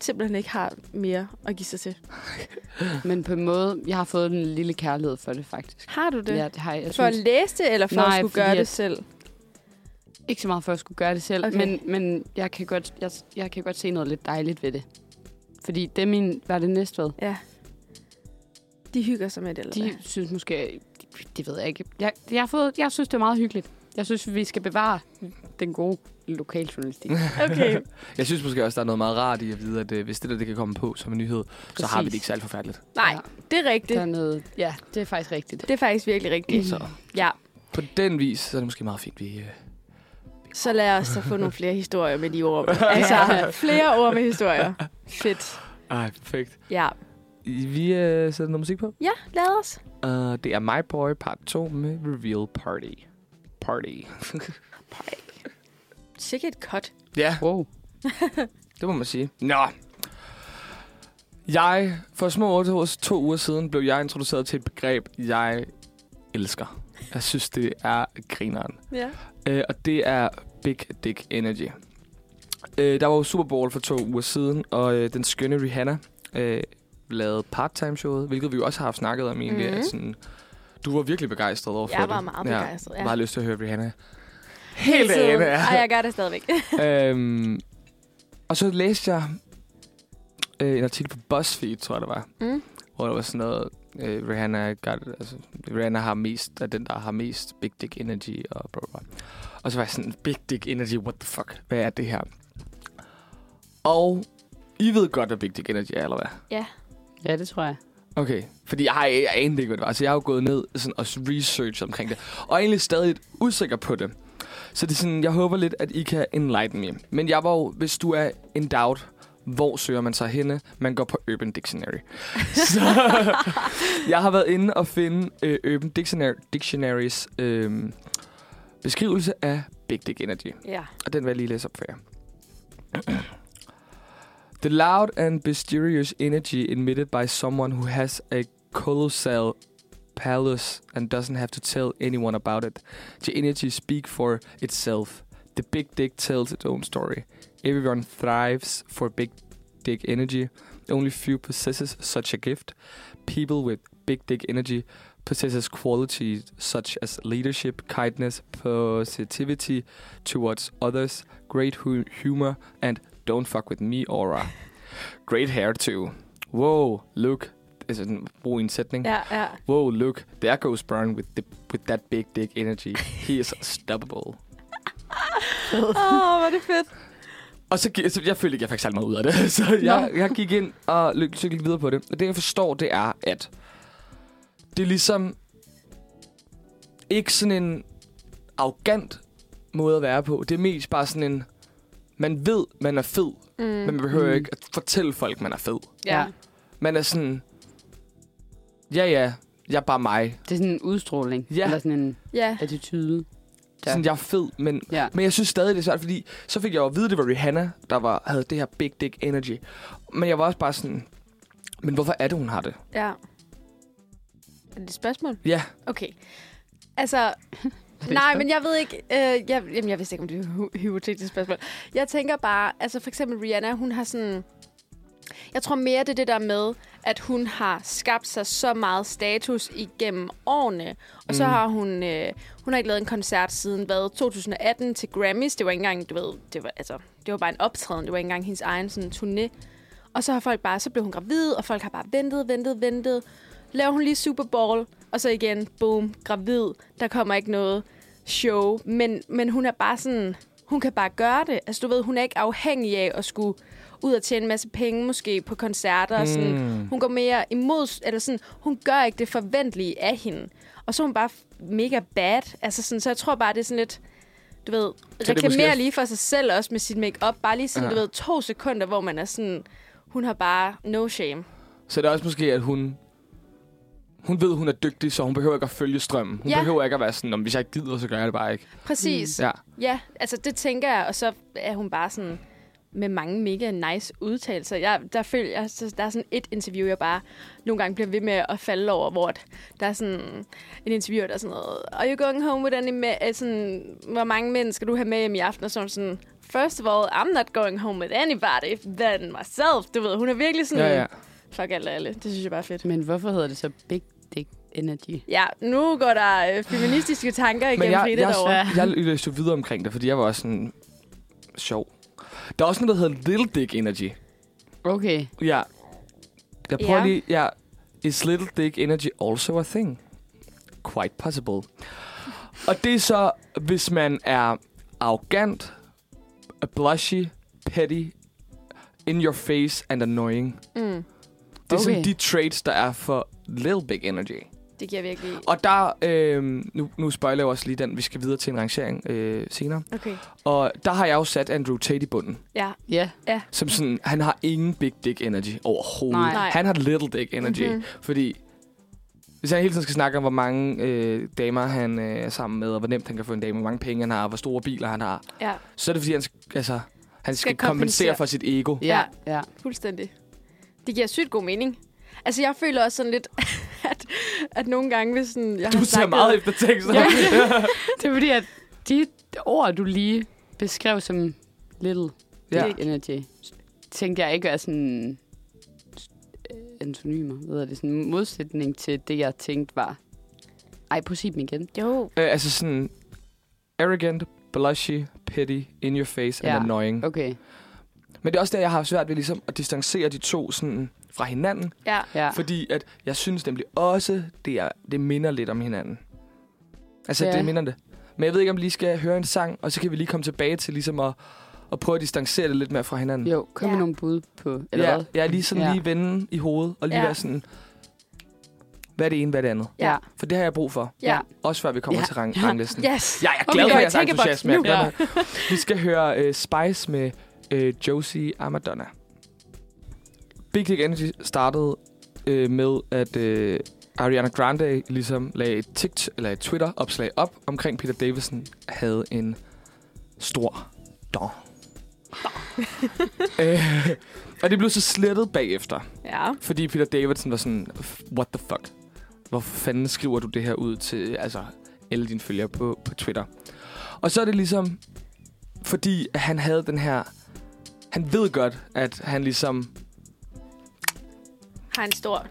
simpelthen ikke har mere at give sig til?
Men på en måde, jeg har fået en lille kærlighed for det, faktisk.
Har du det?
Ja, det har jeg. jeg
for at
synes,
læse det, eller for
Nej,
at skulle
fordi
gøre det
at-
selv?
ikke så meget for at skulle gøre det selv,
Okay.
okay. men, men jeg, kan godt, jeg, jeg kan godt se noget lidt dejligt ved det. Fordi det er min, var det næste ved?
Ja. De hygger sig med det, eller hvad?
De synes måske, det ved jeg ikke. Jeg, jeg, har fået, jeg synes, det er meget hyggeligt. Jeg synes, vi skal bevare den gode lokaljournalistik.
Okay.
Jeg synes måske også, der er noget meget rart i at vide, at øh, hvis det der det kan komme på som en nyhed, Præcis. så har vi
Præcis.
det ikke særlig forfærdeligt.
Nej,
Ja.
det er
Det. Der
rigtigt.
er noget, ja, det er faktisk rigtigt.
Mm. Det er faktisk virkelig rigtigt.
Så
Ja.
på den vis, så er det måske meget fint, vi, øh, vi
Så lad os da få nogle flere historier med de ord. Altså, flere ord med historier. Fedt.
Ej, perfekt.
Ja.
Vi øh, sætter noget musik på.
Ja, lad os.
Uh, det er My Boy part 2 med Reveal Party. Party.
Party. Sikke et cut.
Ja. Wow. det må man sige. Nå. Jeg, for små to uger siden, blev jeg introduceret til et begreb, jeg elsker. Jeg synes, det er grineren.
Ja.
Øh, og det er Big Dick Energy. Øh, der var jo Super Bowl for to uger siden, og øh, den skønne Rihanna øh, lavede part-time-showet, hvilket vi jo også har haft snakket om egentlig. Mm-hmm. At sådan, du var virkelig begejstret over for det.
Mhm. Jeg var meget begejstret, ja.
Jeg har lyst til at høre Rihanna.
Helt ene, ja. Og jeg gør det stadigvæk.
øhm, og så læste jeg øh, en artikel på BuzzFeed, tror jeg det var,
Mm.
hvor der var sådan noget, øh, Rihanna, got, altså, Rihanna har mest, er den, der har mest Big Dick Energy og bla bla. bla. Og så var jeg sådan, Big Dick Energy, what the fuck? Hvad er det her? Og I ved godt, hvad Big Dick Energy er, eller hvad?
Ja, det tror jeg.
Okay, fordi jeg, har, jeg anede ikke, hvad det var. Så jeg har jo gået ned sådan, og researchet omkring det. Og er egentlig stadig lidt usikker på det. Så det er sådan, jeg håber lidt, at I kan enlighten me. Men jeg var jo, hvis du er in doubt, hvor søger man sig henne? Man går på Urban Dictionary. Så jeg har været inde og finde øh, Urban Dictionary, Dictionaries øh, beskrivelse af Big Dick Energy.
Ja.
Og den vil jeg lige læse op for jer. The loud and mysterious energy emitted by someone who has a colossal palace and doesn't have to tell anyone about it. The energy speak for itself. The big dick tells its own story. Everyone thrives for big dick energy. Only few possesses such a gift. People with big dick energy possesses qualities such as leadership, kindness, positivity towards others, great hu- humor, and don't fuck with me aura. Great hair too. Wow, look. Altså, den- brug en sætning.
Ja, ja.
Whoa, look, there goes Brian with the, with that big dick energy. He is stoppable.
Åh, oh, hvor er det fedt.
Og så, gi- så jeg følte ikke, jeg fik særlig meget ud af det. Så jeg, jeg gik ind og løb, så gik videre på det. Og det, jeg forstår, det er, at det er ligesom ikke sådan en arrogant måde at være på. Det er mest bare sådan en, man ved, man er fed, mm.
Mm.
men man behøver
Mm.
ikke at fortælle folk, man er fed.
Ja.
Man er sådan, ja ja, jeg er bare mig.
Det er sådan en udstråling.
Ja.
Eller sådan en
Ja.
attitude.
Ja. Sådan, jeg er fed, men
Ja.
Men jeg synes stadig, det er svært, fordi så fik jeg jo at vide, det var Rihanna, der var, havde det her big dick energy. Men jeg var også bare sådan, men hvorfor er det, hun har det?
Ja. Er det et spørgsmål?
Ja,
Okay. Altså, nej, men jeg ved ikke... Øh, jeg, jamen, jeg vidste ikke, om det var et hy- hypotetisk spørgsmål. Jeg tænker bare... Altså, for eksempel Rihanna, hun har sådan... Jeg tror mere, det er det der med, at hun har skabt sig så meget status igennem årene. Og så
Mm.
har hun... Øh, hun har ikke lavet en koncert siden, hvad, 2018 til Grammys. Det var ikke engang, du ved... Det var, altså, det var bare en optræden. Det var ikke engang hendes egen sådan, turné. Og så har folk bare... Så blev hun gravid, og folk har bare ventet, ventet, ventet. Laver hun lige Super Bowl, og så igen, boom, gravid. Der kommer ikke noget show. Men, men hun er bare sådan... Hun kan bare gøre det. Altså, du ved, hun er ikke afhængig af at skulle ud og tjene en masse penge, måske på koncerter. Mm. Og sådan. Hun går mere imod... Eller sådan, hun gør ikke det forventelige af hende. Og så er hun bare f- mega bad. Altså, sådan, så jeg tror bare, det er sådan lidt... Du ved,
er det måske
reklamerer
også-
lige for sig selv også med sit makeup. Bare lige sådan,
Ja.
ja. du ved, to sekunder, hvor man er sådan... Hun har bare no shame.
så det er også måske, at hun... Hun ved, hun er dygtig, så hun behøver ikke at følge strømmen. Hun
Ja.
behøver ikke at være sådan, om hvis jeg ikke gider, så gør jeg det bare ikke.
Præcis.
Mm. Ja.
Ja, altså det tænker jeg, og så er hun bare sådan med mange mega nice udtalelser. Jeg, der føler jeg, så der er sådan et interview, jeg bare nogle gange bliver ved med at falde over, hvor at der er sådan en interview, der er sådan noget, are you going home with any, ma- eh, sådan, hvor mange mænd skal du have med hjem i aften? Og sådan sådan, first of all, I'm not going home with anybody than myself. Du ved, hun er virkelig sådan,
Ja, ja.
fuck alt og alle. Det synes jeg bare er fedt.
Men hvorfor hedder det så Big Dick Energy?
Ja, nu går der øh, feministiske tanker
Men
igennem
jeg,
Frida
jeg,
derovre.
jeg, jeg læste jo videre omkring det, fordi jeg var også sådan sjov. Der er også noget, der hedder Little Dick Energy.
Okay.
Ja. Jeg prøver
Ja.
lige... Ja. Is little dick energy also a thing? Quite possible. Og det er så, hvis man er arrogant, blushy, petty, in your face and annoying.
Mm.
Det er sådan
Okay.
de traits, der er for little big energy.
Det giver virkelig...
Og der, øh, nu, nu spoiler jeg også lige den, vi skal videre til en rangering øh, senere.
Okay.
Og der har jeg jo sat Andrew Tate i bunden.
Ja.
Ja.
Ja.
Som sådan, han har ingen big dick energy overhovedet.
Nej.
Nej.
Han har little dick energy.
Mhm.
Mm-hmm. Fordi hvis han hele tiden skal snakke om, hvor mange øh, damer han øh, er sammen med, og hvor nemt han kan få en dame, hvor mange penge han har, og hvor store biler han har,
Ja,
så er det fordi, han, sk- altså, han skal,
Skal
skal
kompensere.
kompensere. for sit ego.
Ja, ja.
fuldstændig. Det giver sygt god mening. Altså, jeg føler også sådan lidt, at, at nogle gange, hvis sådan... Jeg
Du
har
ser
snakket-
meget efter tekster.
Ja.
Det er fordi, at de ord, du lige beskrev som little
Ja.
ja. energy, tænkte jeg ikke er sådan øh, antonymer. Hvad hedder det? Sådan en modsætning til det, jeg tænkte var... Ej, på sig dem igen.
Jo.
Øh, altså sådan arrogant, blushy, petty, in your face
Ja.
and annoying.
Okay,
Men det er også der, jeg har svært ved ligesom at distancere de to sådan fra hinanden,
Ja.
ja.
ja. fordi at jeg synes nemlig også, det, er, det minder lidt om hinanden. Altså,
Ja.
ja. det minder det. Men jeg ved ikke, om vi lige skal høre en sang, og så kan vi lige komme tilbage til ligesom at, at prøve at distancere det lidt mere fra hinanden.
Jo, kom ja.
Ja.
med nogle bud på... Eller
ja,
hvad?
jeg er lige sådan
Ja.
ja. lige vende i hovedet, og lige
Ja.
ja. være sådan, hvad er det ene, hvad er det andet?
Ja.
For det har jeg brug for.
Ja.
Også før vi kommer
Ja.
ja. til rang- ranglisten.
Yes.
Jeg er
Okay,
glad okay,
jeg
for
er i
jeres
tænkeboks
entusiasme.
nu.
Jeg er glad for- Vi skal høre uh, Spice med uh, Josie Amadonna. Big Dick Energy startede uh, med, at uh, Ariana Grande ligesom lagde et, tikt, eller et Twitter-opslag op omkring Peter Davison havde en stor dog. øh, og det blev så slettet bagefter,
Ja.
fordi Peter Davidson var sådan, what the fuck? Hvorfor fanden skriver du det her ud til altså, alle dine følgere på, på Twitter? Og så er det ligesom, fordi at han havde den her... Han ved godt, at han ligesom...
Har en stor...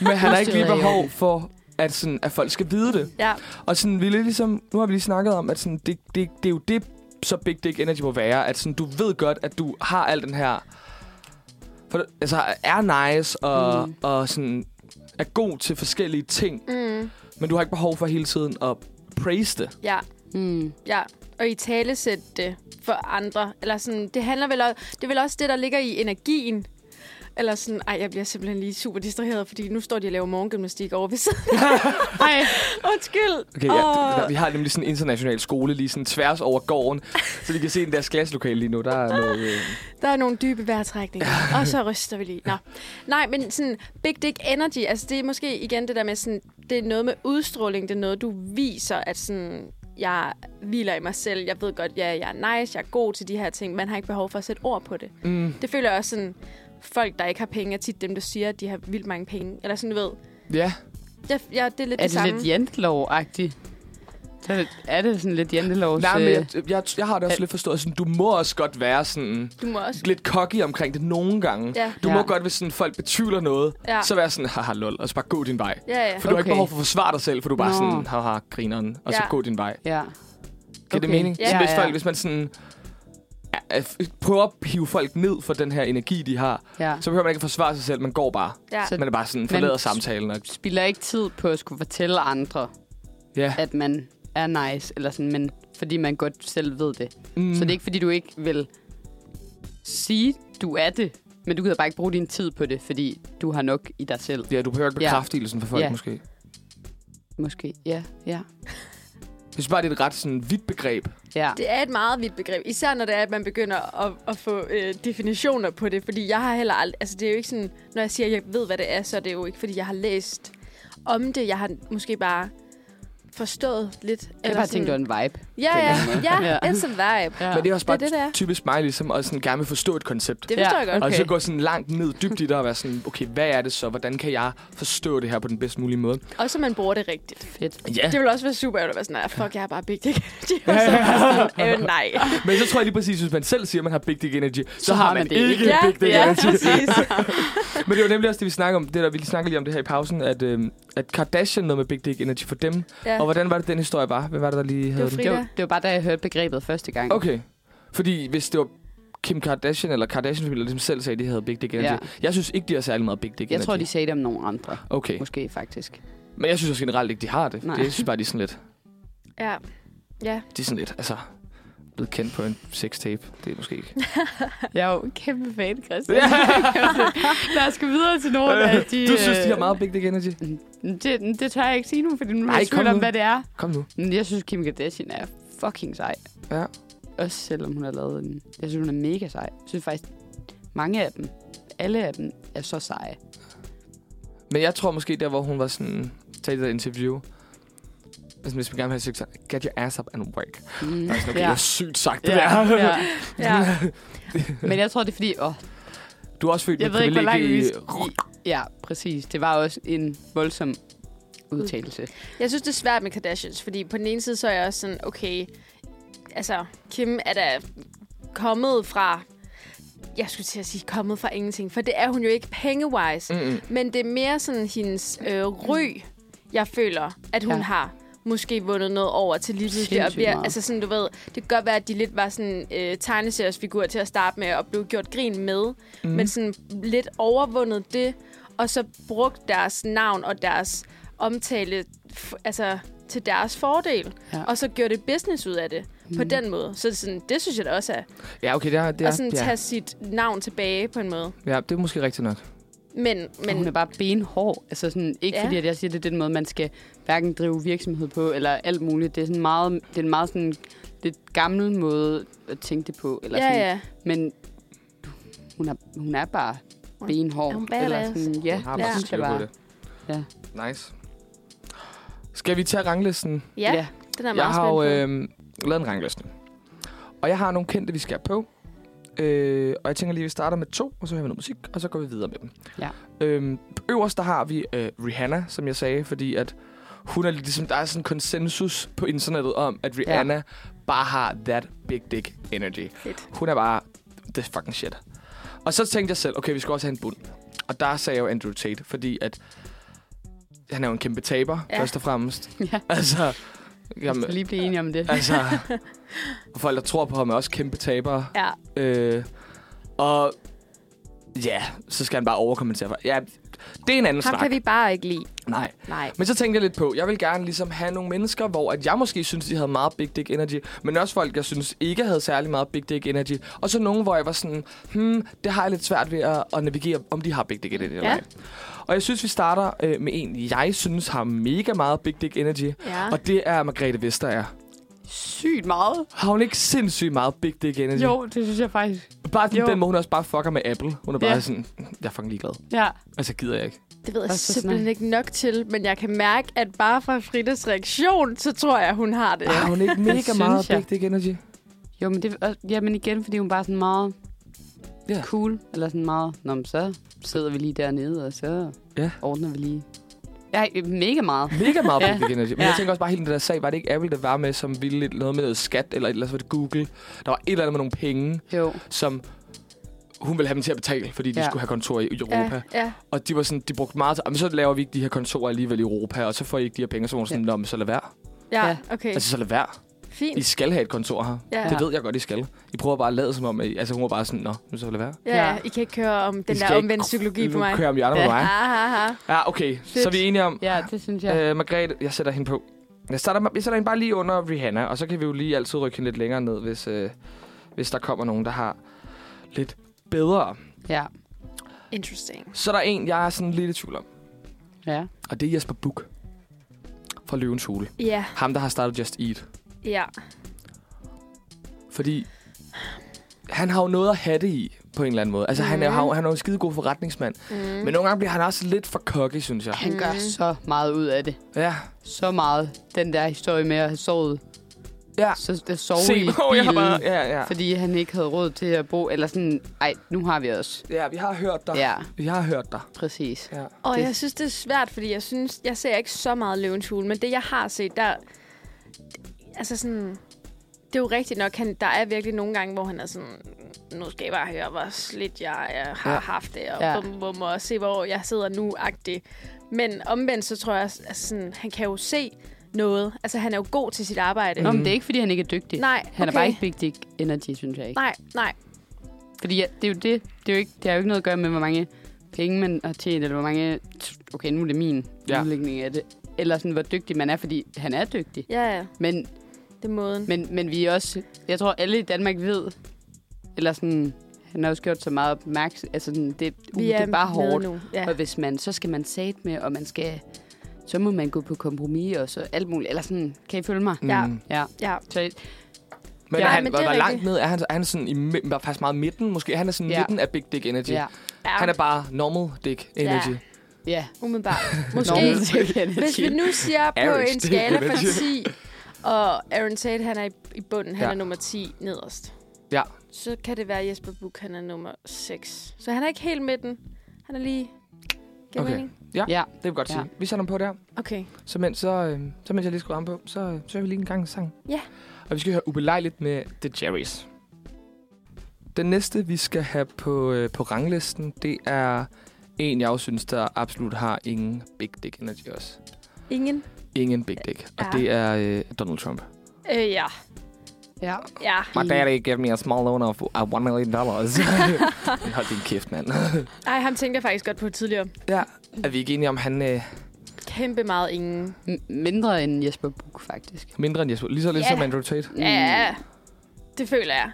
Men han har ikke lige
Udstyret er i
behov
orden.
for, at, sådan, at folk skal vide det.
Ja.
Og sådan, vi er lidt ligesom, nu har vi lige snakket om, at sådan, det, det, det er jo det, så Big Dick Energy må være. At sådan, du ved godt, at du har al den her... For, det- altså, er nice og,
Mm.
mm. og sådan, er god til forskellige ting.
Mm.
Men du har ikke behov for hele tiden at praise det.
Ja.
Mm.
Ja, og i talesætte det for andre. Eller sådan, det handler vel også, det er vel også det, der ligger i energien. Eller sådan, ej, jeg bliver simpelthen lige super distraheret, fordi nu står de og laver morgengymnastik over ved siden.
Ej,
Undskyld.
Okay, ja, oh. der, vi har nemlig sådan en international skole lige sådan tværs over gården, så vi kan se den deres klasselokale lige nu. Der er noget, øh,
Der er nogle dybe vejrtrækninger, og så ryster vi lige. Nå. Nej, men sådan big dick energy, altså det er måske igen det der med sådan, det er noget med udstråling, det er noget, du viser, at sådan, jeg hviler i mig selv, jeg ved godt, ja, jeg er nice, jeg er god til de her ting, man har ikke behov for at sætte ord på det.
mm,
Det føler jeg også sådan, folk, der ikke har penge, er tit dem, der siger, at de har vildt mange penge. Eller sådan, du ved.
ja,
Jeg, jeg, det er lidt
er det
det, samme.
lidt jantelov-agtigt? Så er det- Er det sådan lidt jantelov
Nej, men jeg, jeg, jeg har det også lidt forstået, sådan, du må også godt være sådan
Du må også...
lidt cocky omkring det nogle gange.
Ja.
Du må
Ja.
godt, hvis sådan, folk betvivler noget,
Ja.
så være sådan, haha lol, og så bare gå din vej.
Ja, ja.
For du har
Okay.
ikke behov for at forsvare dig selv, for du er bare
Nå.
sådan, haha, grineren, og så
Ja.
gå din vej.
Ja.
Giver det mening?
Ja,
så hvis,
ja.
folk, hvis man sådan ja, øh, f- prøver at hive folk ned for den her energi, de har,
Ja.
så behøver man ikke at forsvare sig selv, man går bare.
Ja.
Så-
Man er bare sådan, forlader
Men-
samtalen. Og,
spilder ikke tid på at skulle fortælle andre,
ja.
at man er nice, eller sådan, men fordi man godt selv ved det. Mm.
mm,
Så det er ikke, fordi du ikke vil sige, du er det, men du gider bare ikke bruge din tid på det, fordi du har nok i dig selv.
Ja, du behøver ikke
Ja.
bekræftelsen for folk,
Ja.
måske.
Måske. Ja, ja,
Jeg synes bare, det er et ret sådan, vidt begreb.
ja.
Det er et meget vidt begreb. Især når det er, at man begynder at, at få øh, definitioner på det. Fordi jeg har heller aldrig... Altså, det er jo ikke sådan... Når jeg siger, at jeg ved, hvad det er, så er det jo ikke, fordi jeg har læst om det. Jeg har måske bare forstået lidt.
Jeg har bare tænkt, det var en vibe.
Ja, ja, ja. It's a vibe.
Ja.
Men det er også bare
Det er det, det er.
typisk mig, ligesom at sådan, gerne vil forstå et koncept.
Det forstår
Ja.
jeg godt.
Og
Okay.
så gå sådan langt ned dybt i det og være sådan, okay, hvad er det så? Hvordan kan jeg forstå det her på den bedst mulige måde?
Også at man bruger det rigtigt.
fedt.
Ja,
Det vil også være super ærgerligt at være sådan, "Ah, fuck, jeg er bare big dick. energy." Og så bare sådan, øh, nej.
men så tror jeg lige præcis, hvis man selv siger, at man har big dick energy, så,
Så har
har
man
man,
det
ikke
ikke.
big dick
ja,
energy.
præcis.
Men det var nemlig også det, vi snakkede om. Det der, vi lige snakkede lige om det her i pausen, at, øhm, at Kardashian noget med big dick energy for dem.
Ja.
Og hvordan var det, den historie var? Hvad var det, der lige havde
var
den?
Det var, det var bare, da jeg hørte begrebet første gang.
Okay. Fordi hvis det var Kim Kardashian eller Kardashian-familien, der ligesom selv sagde, at de havde Big Dick Energy.
Ja.
Ja. Jeg synes ikke, de har særlig meget Big Dick
Jeg
Energy.
tror, de sagde det om nogle andre.
Okay.
Måske faktisk.
Men jeg synes også generelt ikke, de har det.
Nej.
Nej. Jeg synes bare, de er sådan lidt...
Ja. Ja,
De er sådan lidt, altså... blevet kendt på en sextape. Det er måske ikke.
Jeg er jo en kæmpe fan, Christian. Lad os gå videre til nogle af de...
Øh,
øh,
Du synes, de har meget big dick energy?
Det, det tør jeg ikke sige nu, fordi nu er
Ej,
jeg i
kom
tvivl om,
nu.
hvad det er.
Kom nu.
Men jeg synes, Kim Kardashian er fucking sej.
Ja.
Også selvom hun har lavet en... Jeg synes, hun er mega sej. Jeg synes faktisk, mange af dem, alle af dem, er så seje.
Men jeg tror måske der, hvor hun var sådan... Tag det der interview. Altså, hvis man gerne vil have sex, så get your ass up and work.
Mm.
Og jeg er sådan, okay,
Ja.
det er sygt sagt, det
Ja,
der.
ja.
Ja.
Men jeg tror, det er fordi... Åh,
Du har også følt
jeg
med
ved ikke, hvor langt vi...
privilegie i...
skal- Ja, præcis. Det var også en voldsom udtalelse.
Jeg synes, det er svært med Kardashians, fordi på den ene side, så er jeg også sådan, okay, altså, Kim er da kommet fra, jeg skulle til at sige kommet fra ingenting, for det er hun jo ikke pengewise, mm.
Mm-mm.
men det er mere sådan hendes øh, ry, jeg føler, at hun
Ja.
ja. har måske vundet noget over til lige pludselig. Og
Sindssygt
bliver,
meget.
altså sådan, du ved, det kan godt være, at de lidt var sådan øh, tegneseriesfigurer til at starte med og blev gjort grin med,
Mhm.
mm. men sådan lidt overvundet det, og så brugt deres navn og deres omtale f- altså, til deres fordel,
Ja. Mhm.
ja. og så gjorde det business ud af det mm. på den måde. Så det, sådan, det synes jeg da også er.
Mm-hmm. Ja, okay, det er... Det
Ja,
er
og sådan ja.
ja.
tage sit navn tilbage på en måde.
ja, det er måske rigtigt nok.
Men,
Men hun er
men
bare benhård. Altså sådan, ikke ja.
Ja.
fordi, at jeg siger, det er den måde, man skal hverken drive virksomhed på, eller alt muligt. Det er, sådan meget, det er en meget sådan lidt gammel måde at tænke det på. Eller
ja,
sådan.
ja.
Men hun er, hun er bare
Hun-
benhård.
er hun
eller
badass?
sådan, ja,
Hun har
det
bare
synes jeg
styr på
bare.
det.
Ja.
Nice. Skal vi tage ranglisten?
Ja, ja. den er
jeg
meget
har jo
spændende.
øh, lavet en rangliste. Og jeg har nogle kendte, vi skal have på. Øh, og jeg tænker lige, at vi starter med to, og så hører vi noget musik, og så går vi videre med dem.
Ja.
Øhm, øverst, der har vi øh, Rihanna, som jeg sagde, fordi at hun er ligesom, der er sådan en konsensus på internettet om, at Rihanna ja. bare har that big dick energy.
Fedt.
Hun er bare the fucking shit. Og så tænkte jeg selv, okay, vi skal også have en bund. Og der sagde jeg jo Andrew Tate, fordi at han er jo en kæmpe taber, ja.
Ja.
først og fremmest.
Ja.
Altså,
Jeg skal lige blive enige om det.
Altså, og folk, der tror på ham, er også kæmpe tabere.
Ja,
Øh, og ja, så skal han bare overkompensere for. Ja, det er en anden
ham
snak.
kan vi bare ikke lide.
Nej.
Nej.
Men så tænkte jeg lidt på, jeg vil gerne ligesom have nogle mennesker, hvor at jeg måske synes, de havde meget big dick energy, men også folk, jeg synes ikke havde særlig meget big dick energy. Og så nogen, hvor jeg var sådan, hmm, det har jeg lidt svært ved at, at navigere, om de har big dick energy eller
Ja.
ej. Og jeg synes, vi starter øh, med en, jeg synes har mega meget big dick energy,
Ah.
Ja.
og det er Margrethe Vestager.
Sygt meget.
Har hun ikke sindssygt meget big dick energy?
Jo, det synes jeg faktisk.
Bare den,
Jo.
den måde, hun også bare fucker med Apple. Hun er bare
Ja.
sådan, "Mm, jeg er fucking ligeglad.
Ja.
Altså, gider jeg ikke.
Det ved jeg
Og så
simpelthen
snak.
ikke nok til, men jeg kan mærke, at bare fra Fridas reaktion, så tror jeg, hun har det.
Har hun ikke mega
synes
meget
jeg.
big dick energy?
Jo, men, det, er også- jamen igen, fordi hun bare er sådan meget
Ja.
yeah. cool, eller sådan meget, Nå, men så sidder vi lige dernede, og så
Ja.
ordner vi lige. Ja, mega meget.
Mega meget
Ja.
big dick energy. altså. Men
Ja.
jeg tænker også bare, hele den der sag, var det ikke Apple, der var med, som ville lidt noget med noget skat, eller ellers var det Google. Der var et eller andet med nogle penge,
Jo.
som hun ville have dem til at betale, fordi de
Ja.
skulle have kontor i Europa.
Ja, ja.
Og de var sådan, de brugte meget til, "Jamen, så laver vi ikke de her kontorer alligevel i Europa, og så får I ikke de her penge, så var hun sådan,
Ja.
ja. nå, men så lad være.
Ja.
ja, okay.
Altså, så lad være. I
Fint.
skal have et kontor her.
Ja.
Det ved jeg godt, I skal. I prøver bare at lade som om, at I, altså hun var bare sådan, nå, men så lad være.
Ja,
Ja.
ja, I kan ikke køre om den
I
der
skal ikke
omvendte psykologi på mig.
Nu kører om hjørnet med
Ja.
mig.
Ah, ah, ah.
Ja, okay. Så er vi enige om...
Ja, det synes jeg.
Ja. Øh, Margrethe, jeg sætter hende på. Jeg, starter, med- jeg sætter hende bare lige under Rihanna, og så kan vi jo lige altid rykke hende lidt længere ned, hvis, øh, hvis der kommer nogen, der har lidt bedre.
Ja.
Interesting.
Så er der en, jeg er sådan lidt i tvivl om,
Ja.
og det er Jesper Buch fra Løvens Hule.
Ja,
Ham, der har startet Just Eat.
ja.
Fordi han har jo noget at have det i, på en eller anden måde. Altså, mm. han,
Mhm.
er, jo- han er jo en skide god forretningsmand. Mm. Men nogle gange bliver han også lidt for cocky, synes jeg.
Han gør
Mm.
så meget ud af det.
Ja.
Så meget. Den der historie med at have sovet.
Ja.
Så at sove
Ah. Se,
i bilen,
hvor jeg har bare... Ja, ja.
fordi han ikke havde råd til at bo. Eller sådan, ej, nu har vi os.
Ja, vi har hørt dig.
Ja,
Vi har hørt dig.
præcis.
Ja.
Og
Det-
jeg synes, det er svært, fordi jeg synes, jeg ser ikke så meget løvens hule, men det, jeg har set, der... Altså sådan... Det er jo rigtigt nok, han, der er virkelig nogle gange, hvor han er sådan, nu skal I bare høre, hvor slidt jeg øh, har
Ja.
ja. haft det, og
Ja.
ja. bum, bum, og se, hvor jeg sidder nu-agtig. Men omvendt, så tror jeg, altså sådan, han kan jo se noget. Altså, han er jo god til sit arbejde.
Nå, men det er ikke, fordi han ikke er dygtig.
Øhm. Nej,
Han er
okay.
bare ikke big dick energy, synes jeg ikke.
Nej, nej.
Fordi ja, det er jo det. Det, er jo ikke, det har jo ikke noget at gøre med, hvor mange penge man har tjent, eller hvor mange... Okay, nu er det min
Ja.
ja. udlægning af det. Eller sådan, hvor dygtig man er, fordi han er dygtig.
Ja, ja.
Men
Det er måden.
Men, men vi er også... Jeg tror, alle i Danmark ved, eller sådan... Han har også gjort så meget opmærksom... Altså, sådan, det, uh, det er bare
med
hårdt.
Nu. Ja.
Og hvis man, så skal man sat med, og man skal... Så må man gå på kompromis og så alt muligt. Eller sådan, kan I følge mig?
Ja.
Mm.
Ja.
ja.
Så,
Men,
Ja,
ja, han,
men
men
det
hvor,
er
hvor langt
rigtigt.
ned er han? Er han sådan i, mi- var faktisk meget midten måske? Han er sådan
Ja.
ja. midten af Big Dick Energy.
ja.
Ja. Han er bare normal dick energy. Ja.
Ja.
Umiddelbart.
Normal
Måske.
dick energy.
Hvis vi nu siger på
Average
en skala
dick
fra
energy.
10, og Aaron Tate, han er i, i bunden, han
Ja.
er nummer 10 nederst.
Ja.
Så kan det være at Jesper Buch, han er nummer 6. Så han er ikke helt midten. Han er lige... Giver
Okay.
mening?
Ja.
Det vil jeg godt
Ja.
sige. Vi sætter ham på der.
Okay.
Så mens, så, øh, så mens jeg lige skruer ham på, så, øh, så hører vi lige en gang en sang.
Ja.
Og vi skal høre ubelejligt med The Jerrys. Den næste, vi skal have på, øh, på ranglisten, det er en, jeg også synes, der absolut har ingen Big Dick Energy også.
Ingen?
Ingen Big Dick. Og
Ja.
det er øh, Donald Trump.
Øh, ja.
ja.
Ja.
My daddy gave me a small loan of uh, one million dollars. Men Hold din kæft, mand.
Ej, ham tænkte jeg faktisk godt på tidligere.
ja. Er vi ikke enige om, han er øh,
Kæmpe meget ingen.
M- mindre end Jesper Buch, faktisk.
mindre end Jesper? Lige så lidt
Ja.
som Andrew Tate?
Ja, det føler jeg.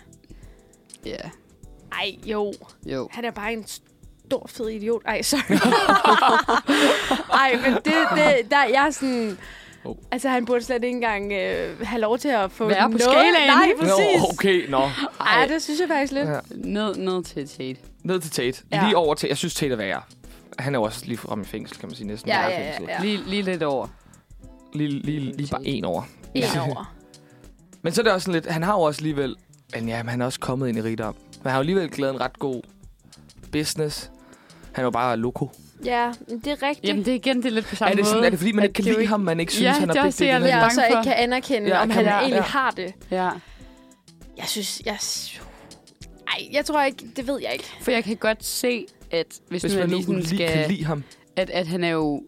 Ja.
Ej, jo.
Jo.
Han er bare en stor, fed idiot. Ej, sorry. Ej, men det, det, der, jeg er sådan...
Oh.
Altså, han burde slet ikke engang øh, have lov til at få
Være på
noget.
skalaen.
Nej,
Nå,
præcis.
Nå, okay, nå.
Ej, det synes jeg faktisk lidt.
Ja.
Ned, ned til Tate.
Ned til Tate.
Ja.
Ja. Lige over til... Jeg synes, Tate er værre. Han er jo også lige frem i fængsel, kan man sige. Næsten
Ja,
bare i
ja, ja,
fængsel.
ja.
Lige, lige lidt over.
Lige, lige, lige bare en over.
En
Ja.
over.
Men så er det også sådan lidt... Han har jo også alligevel... Men ja, men han er også kommet ind i rigdom. Men han har jo alligevel glædet en ret god business. Han er jo bare loko.
Ja, men det er rigtigt.
Jamen, det er igen, det er lidt på samme
Er det, sådan,
måde.
er det fordi, man
at
ikke kan
det er jo
lide
ikke-
ham, man ikke synes,
Ja,
han er
det er
big
også det,
dick
jeg
energy?
lidt
ja, og
bange
så
for.
ikke kan anerkende,
Ja,
ja, om
kan
han
man-
egentlig
ja.
har det.
Ja.
Jeg synes... Jeg... Ej, jeg tror ikke... Det ved jeg ikke.
For jeg kan godt se, at hvis,
Hvis
nu jeg
man
lige
nu
sådan
lige
skal...
kan lide ham.
at, at han er jo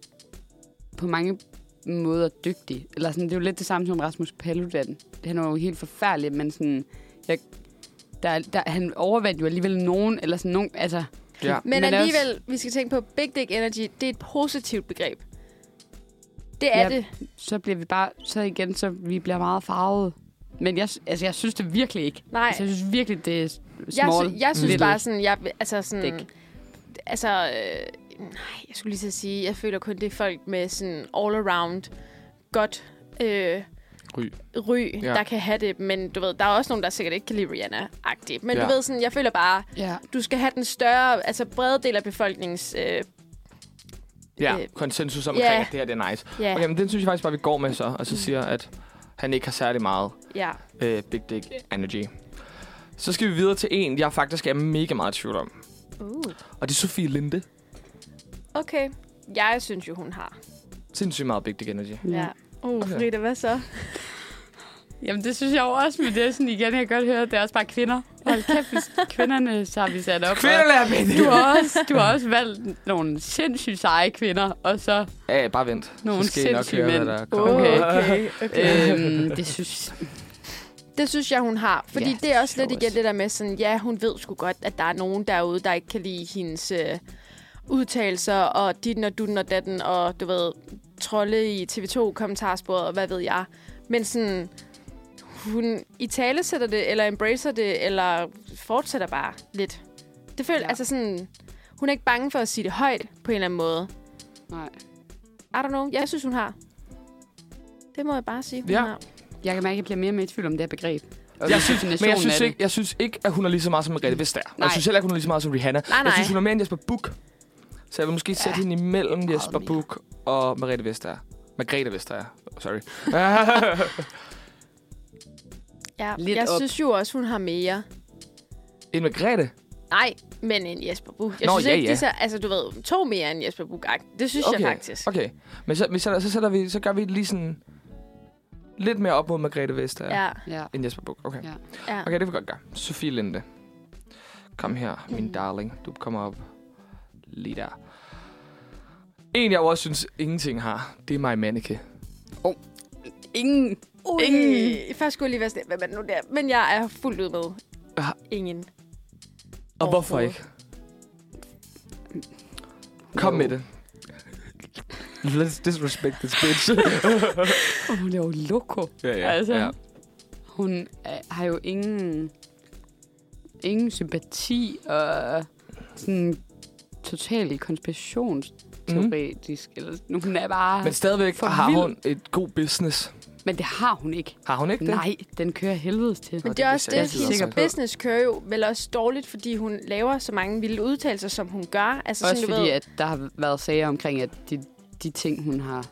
på mange måder dygtig. Eller sådan, det er jo lidt det samme som Rasmus Paludan. Han er jo helt forfærdelig, men sådan... Jeg, der, der, han overvandt jo alligevel nogen, eller sådan nogen... Altså,
Ja.
Men, men
Men
alligevel, også... vi skal tænke på, Big Dick Energy, det er et positivt begreb. Det er
Ja.
det.
så bliver vi bare... Så igen, så vi bliver meget farvet. Men jeg, altså, jeg synes det virkelig ikke.
Nej.
Altså, jeg synes virkelig, det er s-
Jeg,
small.
sy- jeg synes
little
bare sådan, jeg, altså sådan,
dick.
altså, øh, nej, jeg skulle lige så sige, jeg føler kun, det er folk med sådan all around godt øh,
Ry.
ry, ja.
Ja.
der kan have det, men du ved, der er også nogen, der sikkert ikke kan lide Rihanna-agtigt, men ja.
Ja.
du ved sådan, jeg føler bare,
Ja.
du skal have den større, altså brede del af befolkningens, øh,
Ja,
Øh,
konsensus omkring,
ja.
at det her det er nice.
ja,
Okay, men den synes jeg faktisk bare, vi går med så,
Mm.
og så siger, at han ikke har særlig meget
ja,
øh, Big Dick Energy. Så skal vi videre til en, jeg faktisk er mega meget i tvivl om.
uh.
Og det er Sofie Linde.
okay, jeg synes jo, hun har,
Sindssygt meget Big Dick Energy.
ja. Uh,
Okay.
Frida, hvad så?
Jamen, det synes jeg jo også, men det er sådan igen, jeg kan godt høre, at det er også bare kvinder. Hold kæft, hvis kvinderne, så har vi sat op.
Kvinderne er Big Dick!
Du har, også, du har også valgt nogle sindssygt seje kvinder, og så...
Ja, bare vent.
Nogle
så skal I nok
sindssyge
høre, hvad
mænd.
der kommer.
Okay.
okay, okay.
Øhm, det synes...
Det synes jeg, hun har. Fordi
Ja,
ja, det
det
er også
synes jeg
lidt igen
også.
det der med sådan, ja, hun ved sgu godt, at der er nogen derude, der ikke kan lide hendes øh, udtalelser, og dit og dutten og datten, og du ved, trolde i TV2-kommentarsporet, og hvad ved jeg. Men sådan, hun i tale sætter det, eller embracer det, eller fortsætter bare lidt. Det føler, ja.
Ja.
altså sådan, hun er ikke bange for at sige det højt på en eller anden måde.
Nej.
I don't know. Jeg synes, hun har. Det må jeg bare sige, hun
Ja.
har.
Jeg kan mærke, at jeg bliver mere og mere i tvivl om det her begreb. Og
Jeg synes, men jeg
definitionen
synes,
af det.
ikke, jeg synes ikke, at hun er lige så meget som Margrethe Vestager. Og
Nej.
jeg synes heller ikke, hun er lige så meget som Rihanna.
Nej, nej.
Jeg synes, hun er mere end Jesper Buch. Så jeg vil måske sætte hende imellem Jesper
mere.
Buch og Margrethe Vestager. Margrethe Vestager. Sorry.
Ja,
Lidt
jeg
op.
synes jo også, hun har mere.
en Margrethe?
Nej, men en Jesper Buch. Jeg Nå,
Nå,
synes
ja,
ikke, ja.
ja.
de så, altså du ved, to mere end Jesper Buch. Det synes okay. jeg faktisk.
Okay. Men så, men så, så, sætter vi, så gør vi lige sådan lidt mere op mod Margrethe Vestager
Ja,
Ja.
end Jesper Buch. Okay.
Ja.
ja.
Okay, det vil vi godt gøre. Sofie Linde. Kom her,
Mm.
min darling. Du kommer op lige der. En, jeg jo også synes, ingenting har, det er mig Manike.
Ingen.
Ui,
Ingen.
Først skulle jeg lige være sådan, hvad er det nu der? Men jeg er fuldt ud med.
Ah.
Ingen.
Og hvorfor ikke? Kom
Jo.
med det. Let's disrespect this bitch.
Hun er jo loko.
ja, ja,
Altså.
ja.
hun øh, har jo ingen, ingen sympati og sådan total konspirationsteoretisk. Mm. Eller, sådan. hun er bare...
Men stadigvæk
for
har
vild.
hun et god business.
Men det har hun ikke.
Har hun ikke det?
Nej, den kører helvedes til.
Men det er også
vidste jeg
det,
ikke. Jeg er sikker
hendes
på.
business kører jo vel også dårligt, fordi hun laver så mange vilde udtalelser, som hun gør. Altså,
Også
sådan, du
fordi,
ved,
at der har været sager omkring, at de, de ting, hun har,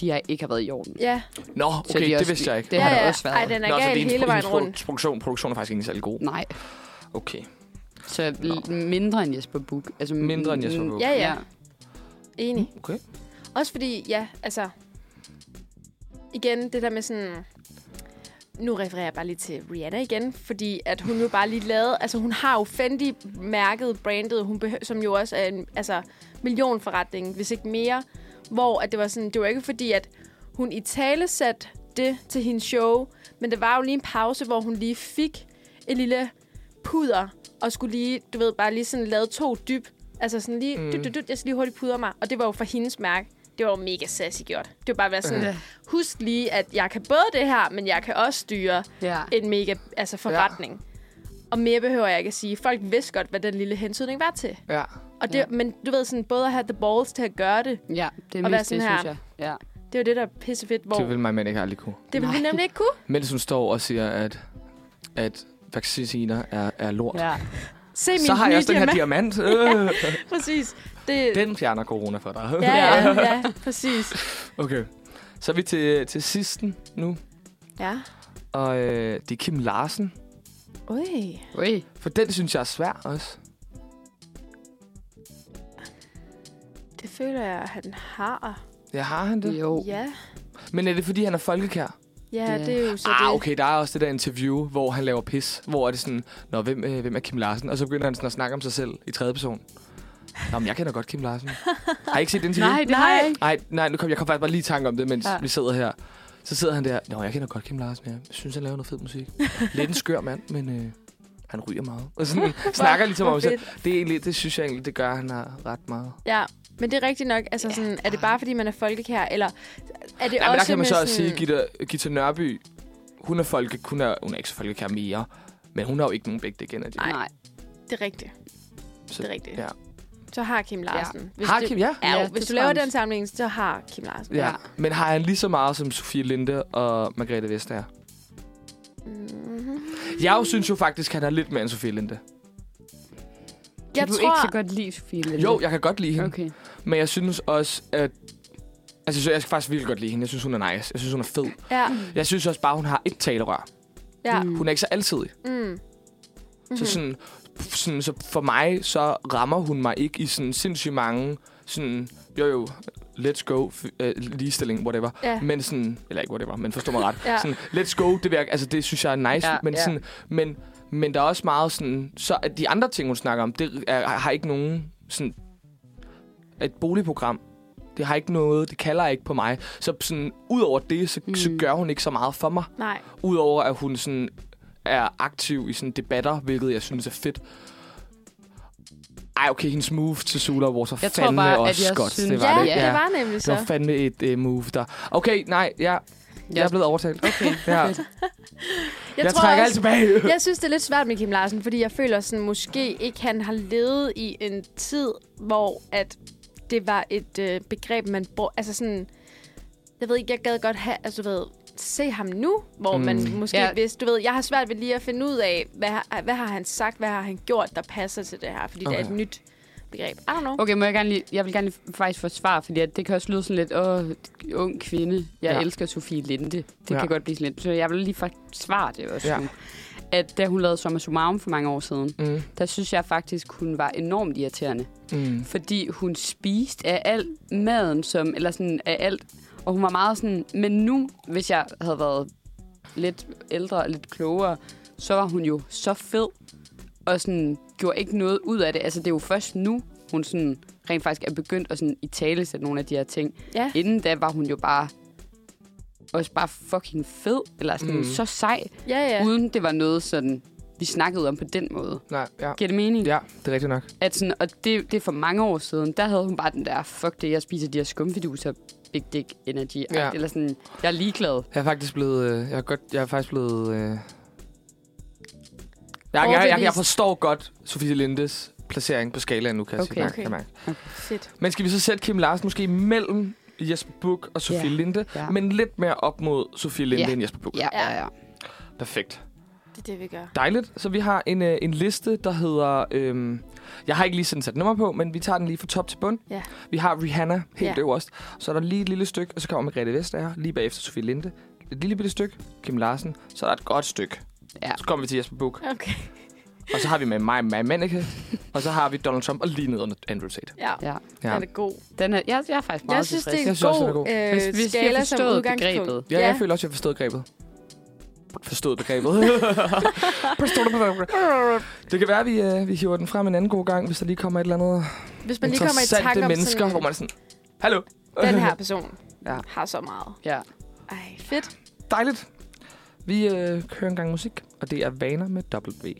de har ikke har været i orden.
Ja,
de
Nå, okay, det
også-
vidste jeg ikke.
Det har
ja,
der
ja.
også været.
Ej, den er
Nå, så
gal
det er
hele
hendes-
vejen
hendes
rundt.
Produktion, produktion er faktisk ikke særlig god.
Nej,
Okay.
så l- mindre end Jesper Buch. Altså,
Mindre end Jesper
mm,
Buch.
Ja, ja. Enig.
Okay.
Også fordi, ja, altså... Igen, det der med sådan... Nu refererer jeg bare lige til Rihanna igen, fordi at hun jo bare lige lavede... Altså, hun har jo Fendi-mærket, brandet, hun behø- som jo også er en altså, millionforretning, hvis ikke mere. Hvor at det var sådan... Det var ikke fordi, at hun i tale satte det til hendes show, men der var jo lige en pause, hvor hun lige fik et lille puder, og skulle lige, du ved, bare lige sådan lave to dyb. Altså sådan lige, mm. dyt, dyt, dyt, jeg skal lige hurtigt pudre mig. Og det var jo for hendes mærke. Det var jo mega sassy gjort. Det var bare at være sådan,
Ja.
husk lige, at jeg kan både det her, men jeg kan også styre
ja.
en mega altså forretning. Ja. Og mere behøver jeg ikke at sige. Folk vidste godt, hvad den lille hentydning var til.
Ja.
Og det, ja. Men du ved sådan, både at have the balls til at gøre det,
Ja, det er
Og være
mest det,
sådan her.
synes jeg. Ja.
det er jo det, der er pissefedt, hvor
Det
det,
vil mig mænd ikke aldrig kunne.
det ville vi
Nej.
nemlig ikke kunne.
Mens hun står og siger, at, at vacciner er, er lort. Ja.
ja.
Se min
Så har jeg
nye
også den her
diamant.
diamant. Øh,
Præcis. Det, det,
den fjerner corona for dig.
ja, ja, ja, præcis.
Okay. Så er vi til, til sidsten nu.
Ja.
Og øh, det er Kim Larsen.
Ui.
Ui.
For den synes jeg er svær også.
Det føler jeg, at han har.
Ja, har han det?
Jo.
Ja.
Men er det, fordi han er folkekær?
Ja,
Ja.
det er jo så
ah,
det.
okay, der er også det der interview, hvor han laver pis. Hvor er det sådan, Nå, hvem, øh, hvem er Kim Larsen? Og så begynder han sådan at snakke om sig selv i tredje person. Nå, men jeg kender godt Kim Larsen. Har I ikke set det interview?
Nej, det har jeg ikke.
Nej, nej, nu kom, jeg kom faktisk bare lige i tanke om det, mens ja.
Ja.
vi sidder her. Så sidder han der, Nå, jeg kender godt Kim Larsen, jeg synes, han laver noget fed musik. Lidt en skør mand, men øh, han ryger meget. Og sådan snakker ligesom
hvor
om sig. selv. Det, er egentlig, det synes jeg egentlig, det gør han har ret meget.
Ja, men det er rigtigt nok. Altså, sådan, er det bare, fordi man er folkekær, eller er det
Ja, men der
også
kan man
med
så
sådan...
også sige, at Gita, Gita Nørby, hun er, folke, hun, er, hun er ikke så folkekær mere, men hun har jo ikke nogen begge igen af det.
Nej.
Nej.
Det er rigtigt.
Så,
det er rigtigt.
Ja.
Så har Kim Larsen. Ja.
Har Kim, ja.
Ja,
Ja,
jo, hvis
det
du
tror
laver
jeg.
den sammenligning, så har Kim Larsen.
ja.
Ja.
Men har han lige så meget som Sofie Linde og Margrethe Vestager?
Mm-hmm.
Jeg synes jo faktisk, han er lidt mere end Sofie Linde.
Kan
Jeg
du
tror-
ikke så godt lide Sofie Linde?
Jo, jeg kan godt lide hende, okay.
Okay.
men jeg synes også, at... Altså, så jeg skal faktisk virkelig godt lide hende. Jeg synes, hun er nice. Jeg synes, hun er fed.
Ja,
Jeg synes også bare, hun har et talerør.
ja.
Mm.
Hun er ikke så altid.
Mm.
Mm-hmm. Så, sådan, sådan, så for mig, så rammer hun mig ikke i sådan sindssygt mange, sådan, jo jo, let's go, f- øh, ligestilling, whatever.
Ja.
Men sådan, eller ikke whatever, men forstå mig ret.
Ja.
Sådan, let's go, det, virker, altså, det synes jeg er nice,
Ja,
men,
ja.
sådan, men, men der er også meget sådan, så at de andre ting, hun snakker om, det er, har ikke nogen sådan, et boligprogram. Det har ikke noget, det kalder ikke på mig. Så sådan, ud over det, så, mm.
Hmm.
så gør hun ikke så meget for mig.
Nej.
Udover at hun sådan er aktiv i sådan debatter, hvilket jeg synes er fedt. Ej, okay, hendes move til Sula Wars var
Jeg tror
fandme
bare, at
også
jeg
godt.
synes-
det var
Ja,
det.
det var nemlig
det var
så.
fandme et uh, move der. Okay, nej, ja, jeg er blevet overtalt. Okay, ja. jeg, jeg
tror
trækker
også-
alt tilbage.
Jeg synes, det er lidt svært med Kim Larsen, fordi jeg føler sådan, måske ikke han har levet i en tid, hvor at det var et øh, begreb, man brugte. Altså sådan, jeg ved ikke, jeg gad godt have, altså du ved, se ham nu, hvor mm. man måske ja.
Ja.
vidste, du ved, jeg har svært ved lige at finde ud af, hvad, har- hvad har han sagt, hvad har han gjort, der passer til det her, fordi okay. det
Okay.
er et nyt begreb. I don't know.
Okay, må jeg gerne lige, jeg vil gerne lige faktisk forsvare, fordi at det kan også lyde sådan lidt, åh, ung kvinde, jeg
Ja.
ja. elsker Sofie Linde. Det
Ja.
ja. kan godt blive sådan lidt, så jeg vil lige forsvare det også
Ja.
ja. nu. At da hun lavede Sommer Summarum for mange år siden,
Mm,
der synes jeg faktisk, hun var enormt irriterende.
mm.
Fordi hun spiste af alt maden, som, eller sådan af alt. Og hun var meget sådan, men nu, hvis jeg havde været lidt ældre og lidt klogere, så var hun jo så fed. Og sådan gjorde ikke noget ud af det. Altså det er jo først nu, hun sådan rent faktisk er begyndt at sådan i tale sætte nogle af de her ting.
Ja.
Inden da var hun jo bare også bare fucking fed, eller sådan
Mm.
mm. så sej,
Ja, ja.
ja. uden det var noget sådan, vi snakkede om på den måde.
Nej, ja.
Giver det mening?
ja, det er rigtigt nok.
At sådan, og det, det er for mange år siden, der havde hun bare den der, fuck det, jeg spiser de her skumfiduser big dick energy. Ja. Eller sådan, jeg er ligeglad.
Jeg er faktisk blevet... Øh, jeg, er godt, jeg er faktisk blevet... Øh, jeg, jeg, jeg, jeg, forstår godt Sofie Lindes placering på skalaen nu, kan okay. jeg sige. Okay. Mærke, okay.
Fedt.
Men skal vi så sætte Kim Larsen måske mellem Jesper Buch og Sofie ja. Linde, ja. men lidt mere op mod Sofie Linde ja. end Jesper Buch?
Ja, ja, ja.
Perfekt.
Det er det, vi gør.
Dejligt. Så vi har en, øh, en liste, der hedder... Øhm, jeg har ikke lige sådan sat nummer på, men vi tager den lige fra top til bund.
Ja.
Vi har Rihanna helt ja. øverst. Så er der lige et lille stykke, og så kommer Margrethe Vestager lige bagefter Sofie Linde. Et lille bitte stykke, Kim Larsen. Så er der et godt stykke. Ja. Så kommer vi til Jesper Buch.
Okay.
Og så har vi med mig, Maja Manike. og så har vi Donald Trump og lige nederne Andrew Tate.
Ja, ja. ja. den er god.
Den er, jeg, jeg er faktisk meget
Jeg synes, det er en
jeg
god, synes, også, god. Øh, hvis, hvis skala jeg som udgangspunkt. Begrebet.
Ja, ja, jeg føler også, jeg har forstået grebet forstået begrebet. forstået begrebet. Det kan være, at vi, øh, vi hiver den frem en anden god gang, hvis der lige kommer et eller andet
hvis man lige kommer i tanke om øh,
mennesker, sådan, hvor man er sådan, hallo.
Den her person ja. har så meget.
Ja.
Ej, fedt.
Dejligt. Vi øh, kører en gang musik, og det er Vaner med W.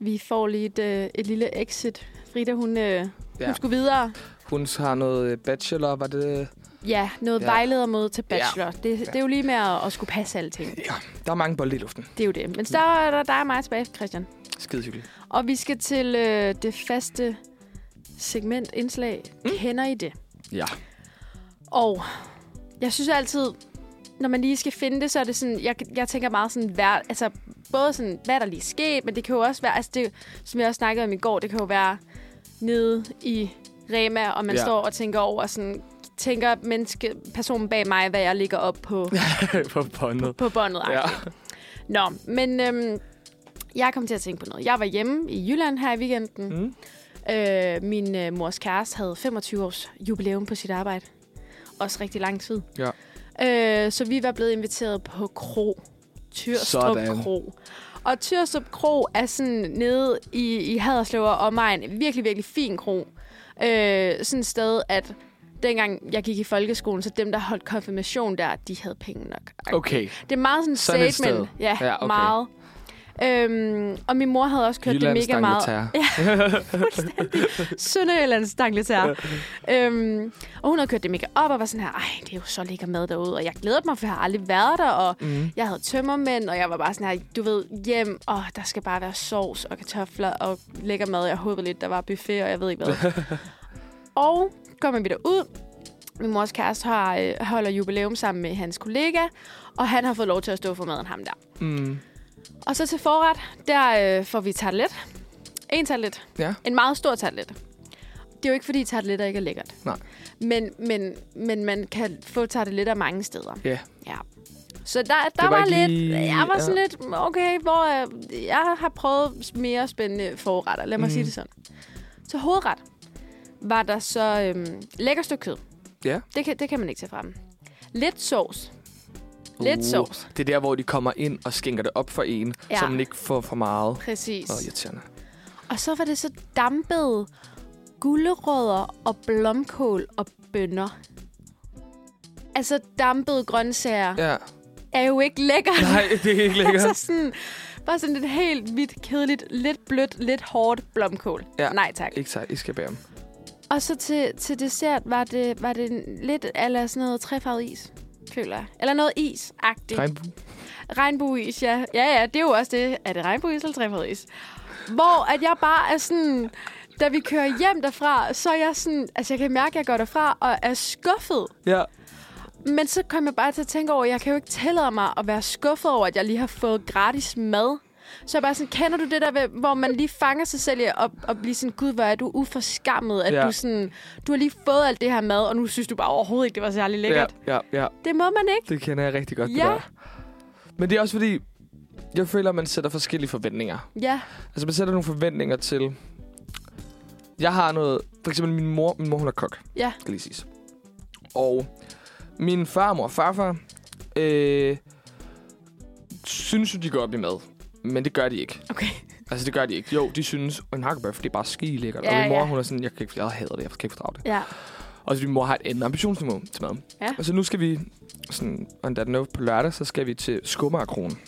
Vi får lige et, øh, et lille exit. Frida, hun, øh, hun ja. hun skulle videre.
Hun har noget øh, bachelor, var det...
Ja, noget ja. vejledermøde til bachelor. Ja. Det, ja. det er jo lige med at, at skulle passe alting.
Ja, der er mange bolde i luften.
Det er jo det. Men så er der dig og mig tilbage, Christian.
Skide hyggeligt.
Og vi skal til øh, det faste segment indslag. Mm. Kender I det?
Ja.
Og jeg synes altid, når man lige skal finde det, så er det sådan, jeg, jeg tænker meget sådan, hver, altså både sådan, hvad der lige sket, men det kan jo også være, altså det, som jeg også snakkede om i går, det kan jo være nede i Rema, og man ja. står og tænker over sådan, tænker menneske, personen bag mig, hvad jeg ligger op på...
på båndet.
På båndet, ja. Nå, men øhm, jeg kom til at tænke på noget. Jeg var hjemme i Jylland her i weekenden. Mm. Øh, min øh, mors kæreste havde 25 års jubilæum på sit arbejde. Også rigtig lang tid.
Ja.
Øh, så vi var blevet inviteret på Kro. Tyrstrup Sådan. Kro. Og Tyrstrup Kro er sådan nede i, i Haderslev og omegn. Virkelig, virkelig fin kro. Øh, sådan et sted, at dengang jeg gik i folkeskolen, så dem, der holdt konfirmation der, de havde penge nok.
Okay.
Det er meget sådan et sådan statement. Et sted. ja, ja okay. meget. Øhm, og min mor havde også kørt Jylland det mega meget. Ja, fuldstændig. Sønderjyllands dangletær. øhm, og hun havde kørt det mega op og var sådan her, ej, det er jo så lækker mad derude. Og jeg glædede mig, for jeg har aldrig været der. Og mm. jeg havde tømmermænd, og jeg var bare sådan her, du ved, hjem, og der skal bare være sovs og kartofler og lækker mad. Jeg håbede lidt, der var buffet, og jeg ved ikke hvad. og kommer vi derud. Min mors kæreste har, øh, holder jubilæum sammen med hans kollega, og han har fået lov til at stå for maden ham der.
Mm.
Og så til forret, der øh, får vi tartelet. En tartelet.
Ja.
En meget stor tartelet. Det er jo ikke, fordi tarteletter ikke er lækkert.
Nej.
Men, men, men man kan få tarteletter mange steder.
Ja. Yeah.
Ja. Så der, der det var, var lidt... Lige... Jeg var sådan ja. lidt, okay, hvor øh, jeg har prøvet mere spændende forretter. Lad mig mm. sige det sådan. Så hovedret var der så øhm, lækker stykke kød.
Ja.
Det kan, det kan man ikke tage frem. Lidt sovs. Lidt uh, sovs.
Det er der, hvor de kommer ind og skænker det op for en, ja. så man ikke får for meget.
Præcis.
Og irriterende.
Og så var det så dampede gulerødder og blomkål og bønner. Altså dampede grøntsager.
Ja.
Er jo ikke lækkert.
Nej, det er ikke lækkert.
altså sådan, bare sådan et helt hvidt, kedeligt, lidt blødt, lidt hårdt blomkål.
Ja.
Nej tak.
Ikke tak. I skal bære dem.
Og så til, til dessert var det, var det lidt eller sådan noget trefarvet is, føler jeg. Eller noget is-agtigt.
Regnbue.
Regnbueis, ja. Ja, ja, det er jo også det. Er det regnbueis eller trefarvet is? Hvor at jeg bare er sådan... Da vi kører hjem derfra, så er jeg sådan... Altså, jeg kan mærke, at jeg går derfra og er skuffet.
Ja.
Men så kom jeg bare til at tænke over, at jeg kan jo ikke tillade mig at være skuffet over, at jeg lige har fået gratis mad. Så jeg bare sådan, kender du det der, hvor man lige fanger sig selv og, og bliver sådan, gud, hvor er du uforskammet, at ja. du sådan, du har lige fået alt det her mad, og nu synes du bare overhovedet ikke, det var særlig lækkert.
Ja, ja, ja.
Det må man ikke.
Det kender jeg rigtig godt,
ja.
det der. Men det er også fordi, jeg føler, at man sætter forskellige forventninger.
Ja.
Altså, man sætter nogle forventninger til... Jeg har noget... For eksempel min mor, min mor hun er kok.
Ja.
Skal lige siges. Og min farmor og farfar... Øh, synes jo, de går op i mad men det gør de ikke.
Okay.
Altså, det gør de ikke. Jo, de synes, at en hakkebøf, det er bare skige lækkert. Ja, og min mor, ja. hun er sådan, jeg kan ikke, jeg hader det, jeg kan ikke fordrage det.
Ja.
Og så min mor har et andet ambitionsniveau til maden.
Ja.
Og så nu skal vi, sådan, on that note, på lørdag, så skal vi til skummerkronen.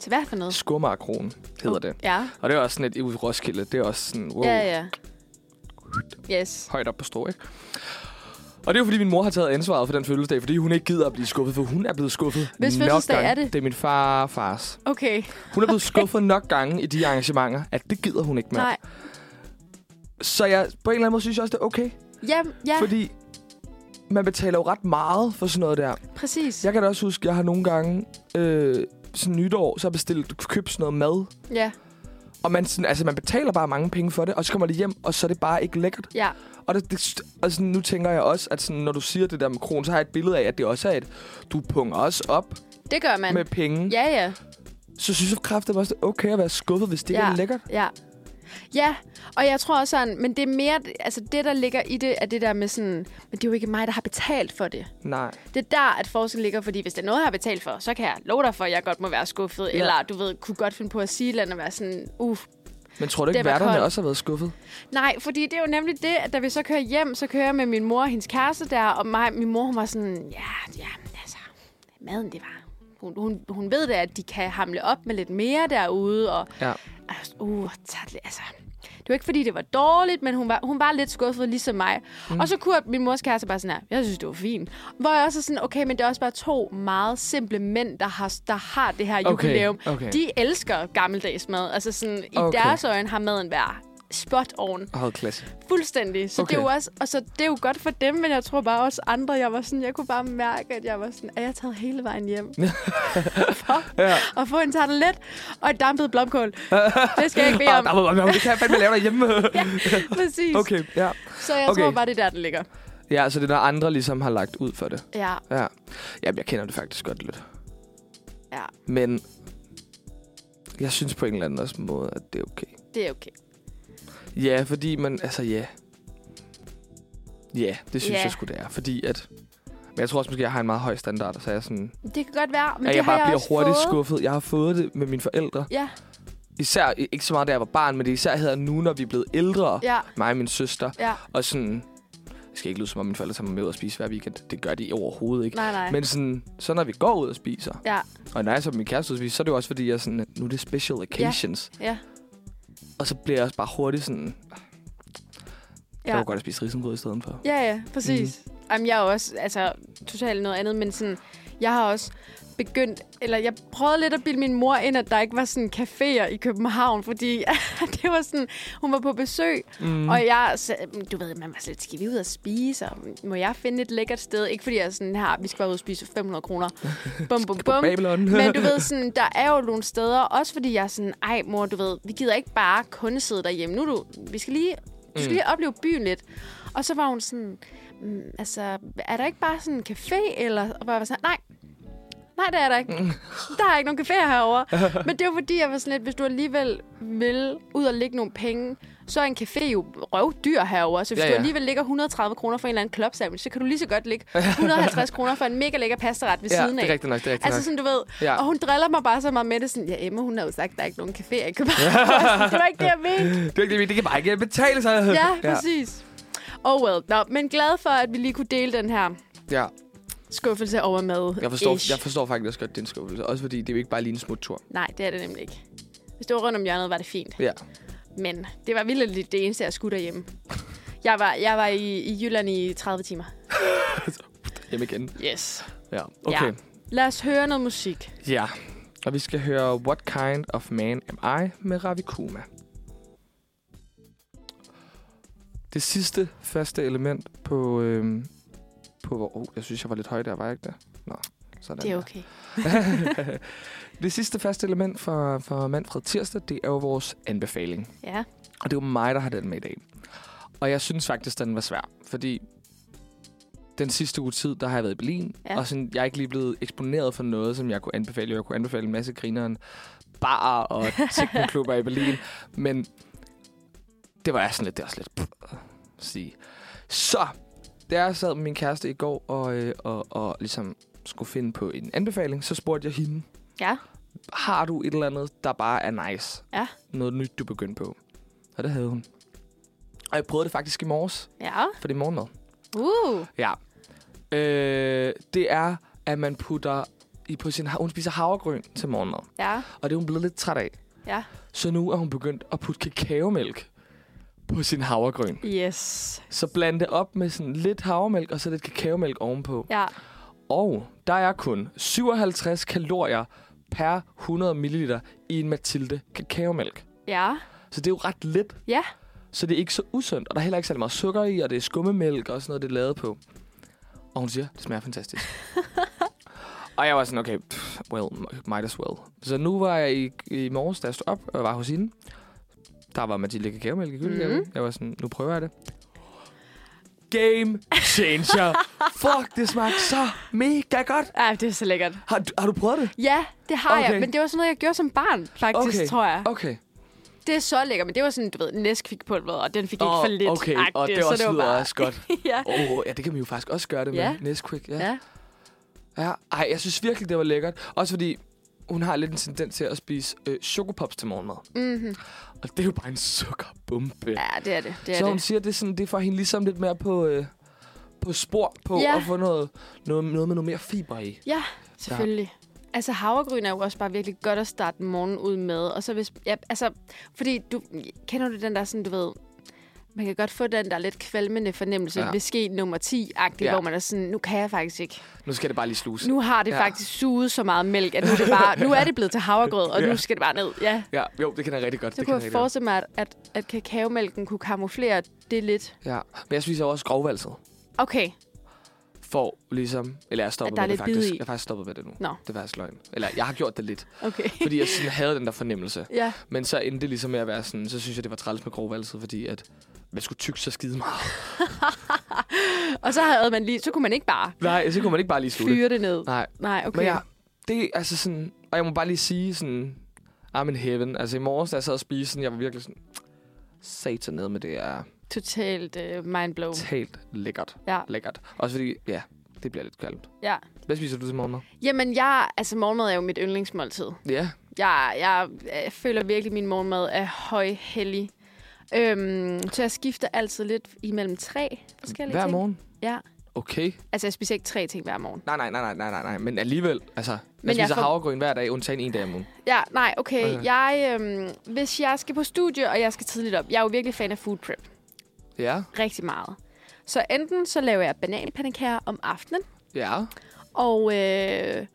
Til hvad for noget?
Skummerkronen hedder uh, det.
Ja.
Og det er også sådan et ude Roskilde. Det er også sådan, wow.
Ja, ja. Yes.
Højt op på strå, ikke? Og det er jo fordi, min mor har taget ansvaret for den fødselsdag, fordi hun ikke gider at blive skuffet, for hun er blevet skuffet
Hvis
nok
fødselsdag
gange.
er det?
Det er min far og fars.
Okay.
Hun er blevet skuffet nok gange i de arrangementer, at det gider hun ikke mere.
Nej.
Så jeg, på en eller anden måde synes jeg også, det er okay.
Ja, ja
Fordi
Fordi...
man betaler jo ret meget for sådan noget der.
præcis. Ja.
Jeg kan da også huske, at jeg har nogle gange øh, sådan nytår, så har jeg bestilt, købt sådan noget mad.
ja.
Og man, sådan, altså, man betaler bare mange penge for det, og så kommer det hjem, og så er det bare ikke lækkert.
Ja,
Og det, det, altså, nu tænker jeg også, at sådan, når du siger det der med kronen, så har jeg et billede af, at det også er et, du punger også op
det gør man.
med penge.
Ja, ja.
Så synes jeg kraftigt også, det er okay at være skuffet, hvis det ikke
ja.
er lækkert.
Ja. Ja, og jeg tror også sådan, men det er mere, altså det, der ligger i det, er det der med sådan, men det er jo ikke mig, der har betalt for det.
Nej.
Det er der, at forskellen ligger, fordi hvis det er noget, jeg har betalt for, så kan jeg love dig for, at jeg godt må være skuffet, ja. eller du ved, kunne godt finde på at sige et eller andet og være sådan, uff.
Men tror du ikke,
Det var
værterne
koldt.
også har været skuffet?
Nej, fordi det er jo nemlig det, at da vi så kører hjem, så kører jeg med min mor og hendes kæreste der, og mig, min mor hun var sådan, ja, ja, altså, maden det var. Hun, hun, hun ved da, at de kan hamle op med lidt mere derude, og
Ja.
Altså, uh, tag det, altså. Det var ikke, fordi det var dårligt, men hun var, hun var lidt skuffet, ligesom mig. Mm. Og så kunne jeg- min mors kæreste bare sådan her, jeg synes, det var fint. Hvor jeg også er sådan, okay, men det er også bare to meget simple mænd, der har, der har det her
Okay,
jubilæum.
okay.
De elsker gammeldags mad. Altså sådan, i
Okay.
okay. deres øjne har maden været spot on.
Hold klasse.
Fuldstændig. Så okay. det er
Okay.
jo også, og så det er jo godt for dem, men jeg tror bare også andre, jeg var sådan, jeg kunne bare mærke, at jeg var sådan, at jeg taget hele vejen hjem. for
Ja.
at få en tartelet og et dampet blomkål. det skal jeg ikke bede
Ah,
om.
der var- der var- det kan jeg fandme lave derhjemme.
Præcis.
okay, ja.
Så jeg
Okay.
okay. tror bare, det er der, den ligger.
Ja, så det er, når andre ligesom har lagt ud for det.
Ja,
Ja. Jamen, jeg kender det faktisk godt lidt.
ja,
Men jeg synes på en eller anden også måde, at det er okay.
det er okay.
Ja, fordi man... Altså, ja. Ja, det synes
Ja.
jeg sgu, det er. Fordi at... Men jeg tror også måske, jeg har en meget høj standard, så er jeg sådan...
Det kan godt være, men
at
det
jeg
har
bare
jeg
bliver
også
hurtigt
fået.
skuffet. Jeg har fået det med mine forældre.
Ja,
Især, ikke så meget da jeg var barn, men det er især hedder nu, når vi er blevet ældre.
ja,
Mig og min søster.
ja.
Og sådan... Det skal ikke lyde som om, mine forældre tager mig med ud og spise hver weekend. Det gør de overhovedet ikke.
Nej, nej.
Men sådan, så når vi går ud og spiser,
Ja,
og når jeg så er på min kæreste ud at spise, så er det jo også fordi, jeg sådan, nu er det special occasions.
ja,
Og så bliver jeg også bare hurtigt sådan, ja.
ja.
jeg kunne godt at spise risengrød i stedet for.
Ja, ja, præcis. Mm. Jamen, jeg er også altså, totalt noget andet, men sådan, jeg har også begyndt, eller jeg prøvede lidt at bilde min mor ind, at der ikke var sådan caféer i København, fordi det var sådan, hun var på besøg, mm. og jeg, så, du ved, man var sådan lidt, skal vi ud og spise, og må jeg finde et lækkert sted? Ikke fordi jeg er sådan her, vi skal bare ud og spise for 500 kroner. Bum, bum, bum.
Babylon.
Men du ved, sådan, der er jo nogle steder, også fordi jeg er sådan, ej mor, du ved, vi gider ikke bare kun sidde derhjemme. Nu er du, vi skal lige, du skal mm. lige opleve byen lidt. Og så var hun sådan, mm, altså, er der ikke bare sådan en café? Eller, og bare var sådan, nej, nej, det er der ikke. Der er ikke nogen caféer herovre. Men det var fordi, jeg var sådan lidt, hvis du alligevel vil ud og lægge nogle penge, så er en café jo røvdyr herovre. Så hvis
Ja,
ja,
ja.
ja. du alligevel ligger 130 kroner for en eller anden club sandwich, så kan du lige så godt ligge 150 kroner for en mega lækker pastaret ved
ja,
siden af.
det er rigtigt nok, det er rigtigt
Altså
altså, nok.
sådan, du ved.
Ja.
Ja. Og hun driller mig bare så meget med det. Sådan, ja, Emma, hun har jo sagt, at der er ikke nogen caféer i København. det var ikke det, jeg mente.
Det, er ikke, det, det kan bare ikke betale sig.
Ja, præcis. Oh well. Nå, men glad for, at vi lige kunne dele den her
Ja,
skuffelse over mad.
jeg forstår,
Ish.
jeg forstår faktisk også godt din skuffelse. Også fordi det er jo ikke bare lige en smut tur.
Nej, det er det nemlig ikke. Hvis det var rundt om hjørnet, var det fint.
Ja.
Men det var vildt det eneste, jeg skulle derhjemme. Jeg var, jeg var i, i Jylland i 30 timer.
Hjem igen.
Yes.
Ja, okay.
Ja. Lad os høre noget musik.
Ja. ja. Og vi skal høre What Kind of Man Am I med Ravi Kuma. Det sidste faste element på... Øhm, på hvor, oh, jeg synes, jeg var lidt høj der, var jeg ikke der? Nå, sådan
Det er
der.
okay.
det sidste faste element for, for Manfred Tirsdag, det er jo vores anbefaling.
Ja.
Og det er jo mig, der har den med i dag. Og jeg synes faktisk, den var svær, fordi den sidste uge tid, der har jeg været i Berlin, ja.
Ja.
og sådan, jeg er ikke lige blevet eksponeret for noget, som jeg kunne anbefale. Jeg kunne anbefale en masse grineren bar og teknoklubber i Berlin, men det var jeg sådan lidt, det var sådan lidt pff, at sige. Så, da jeg sad med min kæreste i går og, øh, og, og ligesom skulle finde på en anbefaling, så spurgte jeg hende,
Ja.
har du et eller andet, der bare er nice?
Ja.
Noget nyt, du begyndte på. Og det havde hun. Og jeg prøvede det faktisk i morges,
Ja.
for det er morgenmad.
Uh.
Ja. Øh, det er, at man putter i på sin... Hun spiser havregryn til morgenmad.
Ja.
Og det er hun blevet lidt træt af.
Ja.
Så nu er hun begyndt at putte kakaomælk på sin havregryn.
Yes.
Så bland det op med sådan lidt havremælk og så lidt kakaomælk ovenpå.
Ja.
Og der er kun 57 kalorier per 100 ml i en Mathilde kakaomælk.
Ja.
Så det er jo ret lidt.
Ja.
Så det er ikke så usundt, og der er heller ikke særlig meget sukker i, og det er skummemælk og sådan noget, det er lavet på. Og hun siger, det smager fantastisk. og jeg var sådan, okay, pff, well, might as well. Så nu var jeg i, i morges, da jeg stod op og var hos hende. Der var Mathilde kakaomælk i køkkenet.
Mhm.
Mm. Jeg var sådan, nu prøver jeg det. Game changer. Fuck, det smagte så mega godt.
Ej, det er så lækkert.
Har, du- har du prøvet det?
Ja, det har okay.
Okay.
jeg, men det var sådan noget, jeg gjorde som barn, faktisk, okay. tror jeg.
Okay.
Det er så lækkert, men det var sådan, du ved, Nesquik-pulveret, og den fik ikke
Åh,
for lidt.
Okay, og det,
så
også
var
lyder
bare-
også godt.
ja.
Åh, oh, ja, det kan man jo faktisk også gøre det med
Ja.
Nesquik. Ja. ja.
ja.
ja. Ej, jeg synes virkelig, det var lækkert. Også fordi hun har lidt en tendens til at spise øh, chokopops til morgenmad.
Mm-hmm.
Og det er jo bare en sukkerbombe.
ja, det er det. det, er
så hun
det.
siger, det, er sådan, det får hende ligesom lidt mere på, øh, på spor på
Ja.
at få noget, noget, noget med noget mere fiber i.
Ja, selvfølgelig. Altså havregryn er jo også bare virkelig godt at starte morgenen ud med. Og så hvis, ja, altså, fordi du, kender du den der sådan, du ved, man kan godt få den der lidt kvalmende fornemmelse
Ja.
ja. ved ske nummer 10-agtig,
Ja.
ja. hvor man er sådan, nu kan jeg faktisk ikke.
Nu skal det bare lige sluse.
Nu har det
Ja.
ja. faktisk suget så meget mælk, at nu er det, bare, nu er det blevet til havregrød, og
Ja.
nu skal det bare ned. Ja,
Ja, jo, det kan jeg rigtig godt.
så
det kan jeg
kunne jeg
rigtig godt.
forestille mig, at, at, at kakaomælken kunne kamuflere det lidt.
Ja. Men jeg spiser jo også grovvalset.
Okay,
For ligesom... Eller jeg er stoppet
der er
med det
lidt bid
faktisk.
i.
Jeg er faktisk stoppet med det nu.
Nå.
Det er faktisk løgn. Eller jeg har gjort det lidt.
okay.
Fordi jeg sådan, havde den der fornemmelse.
ja.
Men så endte det ligesom med at være sådan, så synes jeg, det var træls med grovvalset, fordi at man skulle tygge så skide meget.
Og så havde man lige, så kunne man ikke bare
Nej, så kunne man ikke bare lige slutte.
fyre det ned.
Nej,
Nej, okay.
men jeg, det er altså sådan, og jeg må bare lige sige sådan, I'm in heaven. Altså i morges, da jeg sad og spiste, sådan, jeg var virkelig sådan, satan ned med det er
Totalt uh, mindblown.
totalt lækkert.
Ja,
Lækkert. Også fordi, ja, det bliver lidt kvalmt.
ja.
Hvad spiser du til morgenmad?
Jamen, jeg, altså morgenmad er jo mit yndlingsmåltid.
Ja,
Jeg, jeg, jeg føler virkelig, at min morgenmad er højhellig. Øhm, så jeg skifter altid lidt imellem tre forskellige
hver
ting.
morgen.
Ja.
Okay.
Altså, jeg spiser ikke tre ting hver morgen.
Nej, nej, nej, nej, nej, nej, nej. Men alligevel, altså, men jeg
jeg
spiser
får-
jeg havregryn hver dag, undtagen en dag om ugen.
Ja, nej, okay.
Okay.
okay. Jeg, øhm, hvis jeg skal på studie, og jeg skal tidligt op, jeg er jo virkelig fan af food prep.
Ja,
Rigtig meget. Så enten så laver jeg bananpandekager om aftenen,
ja.
Og øh,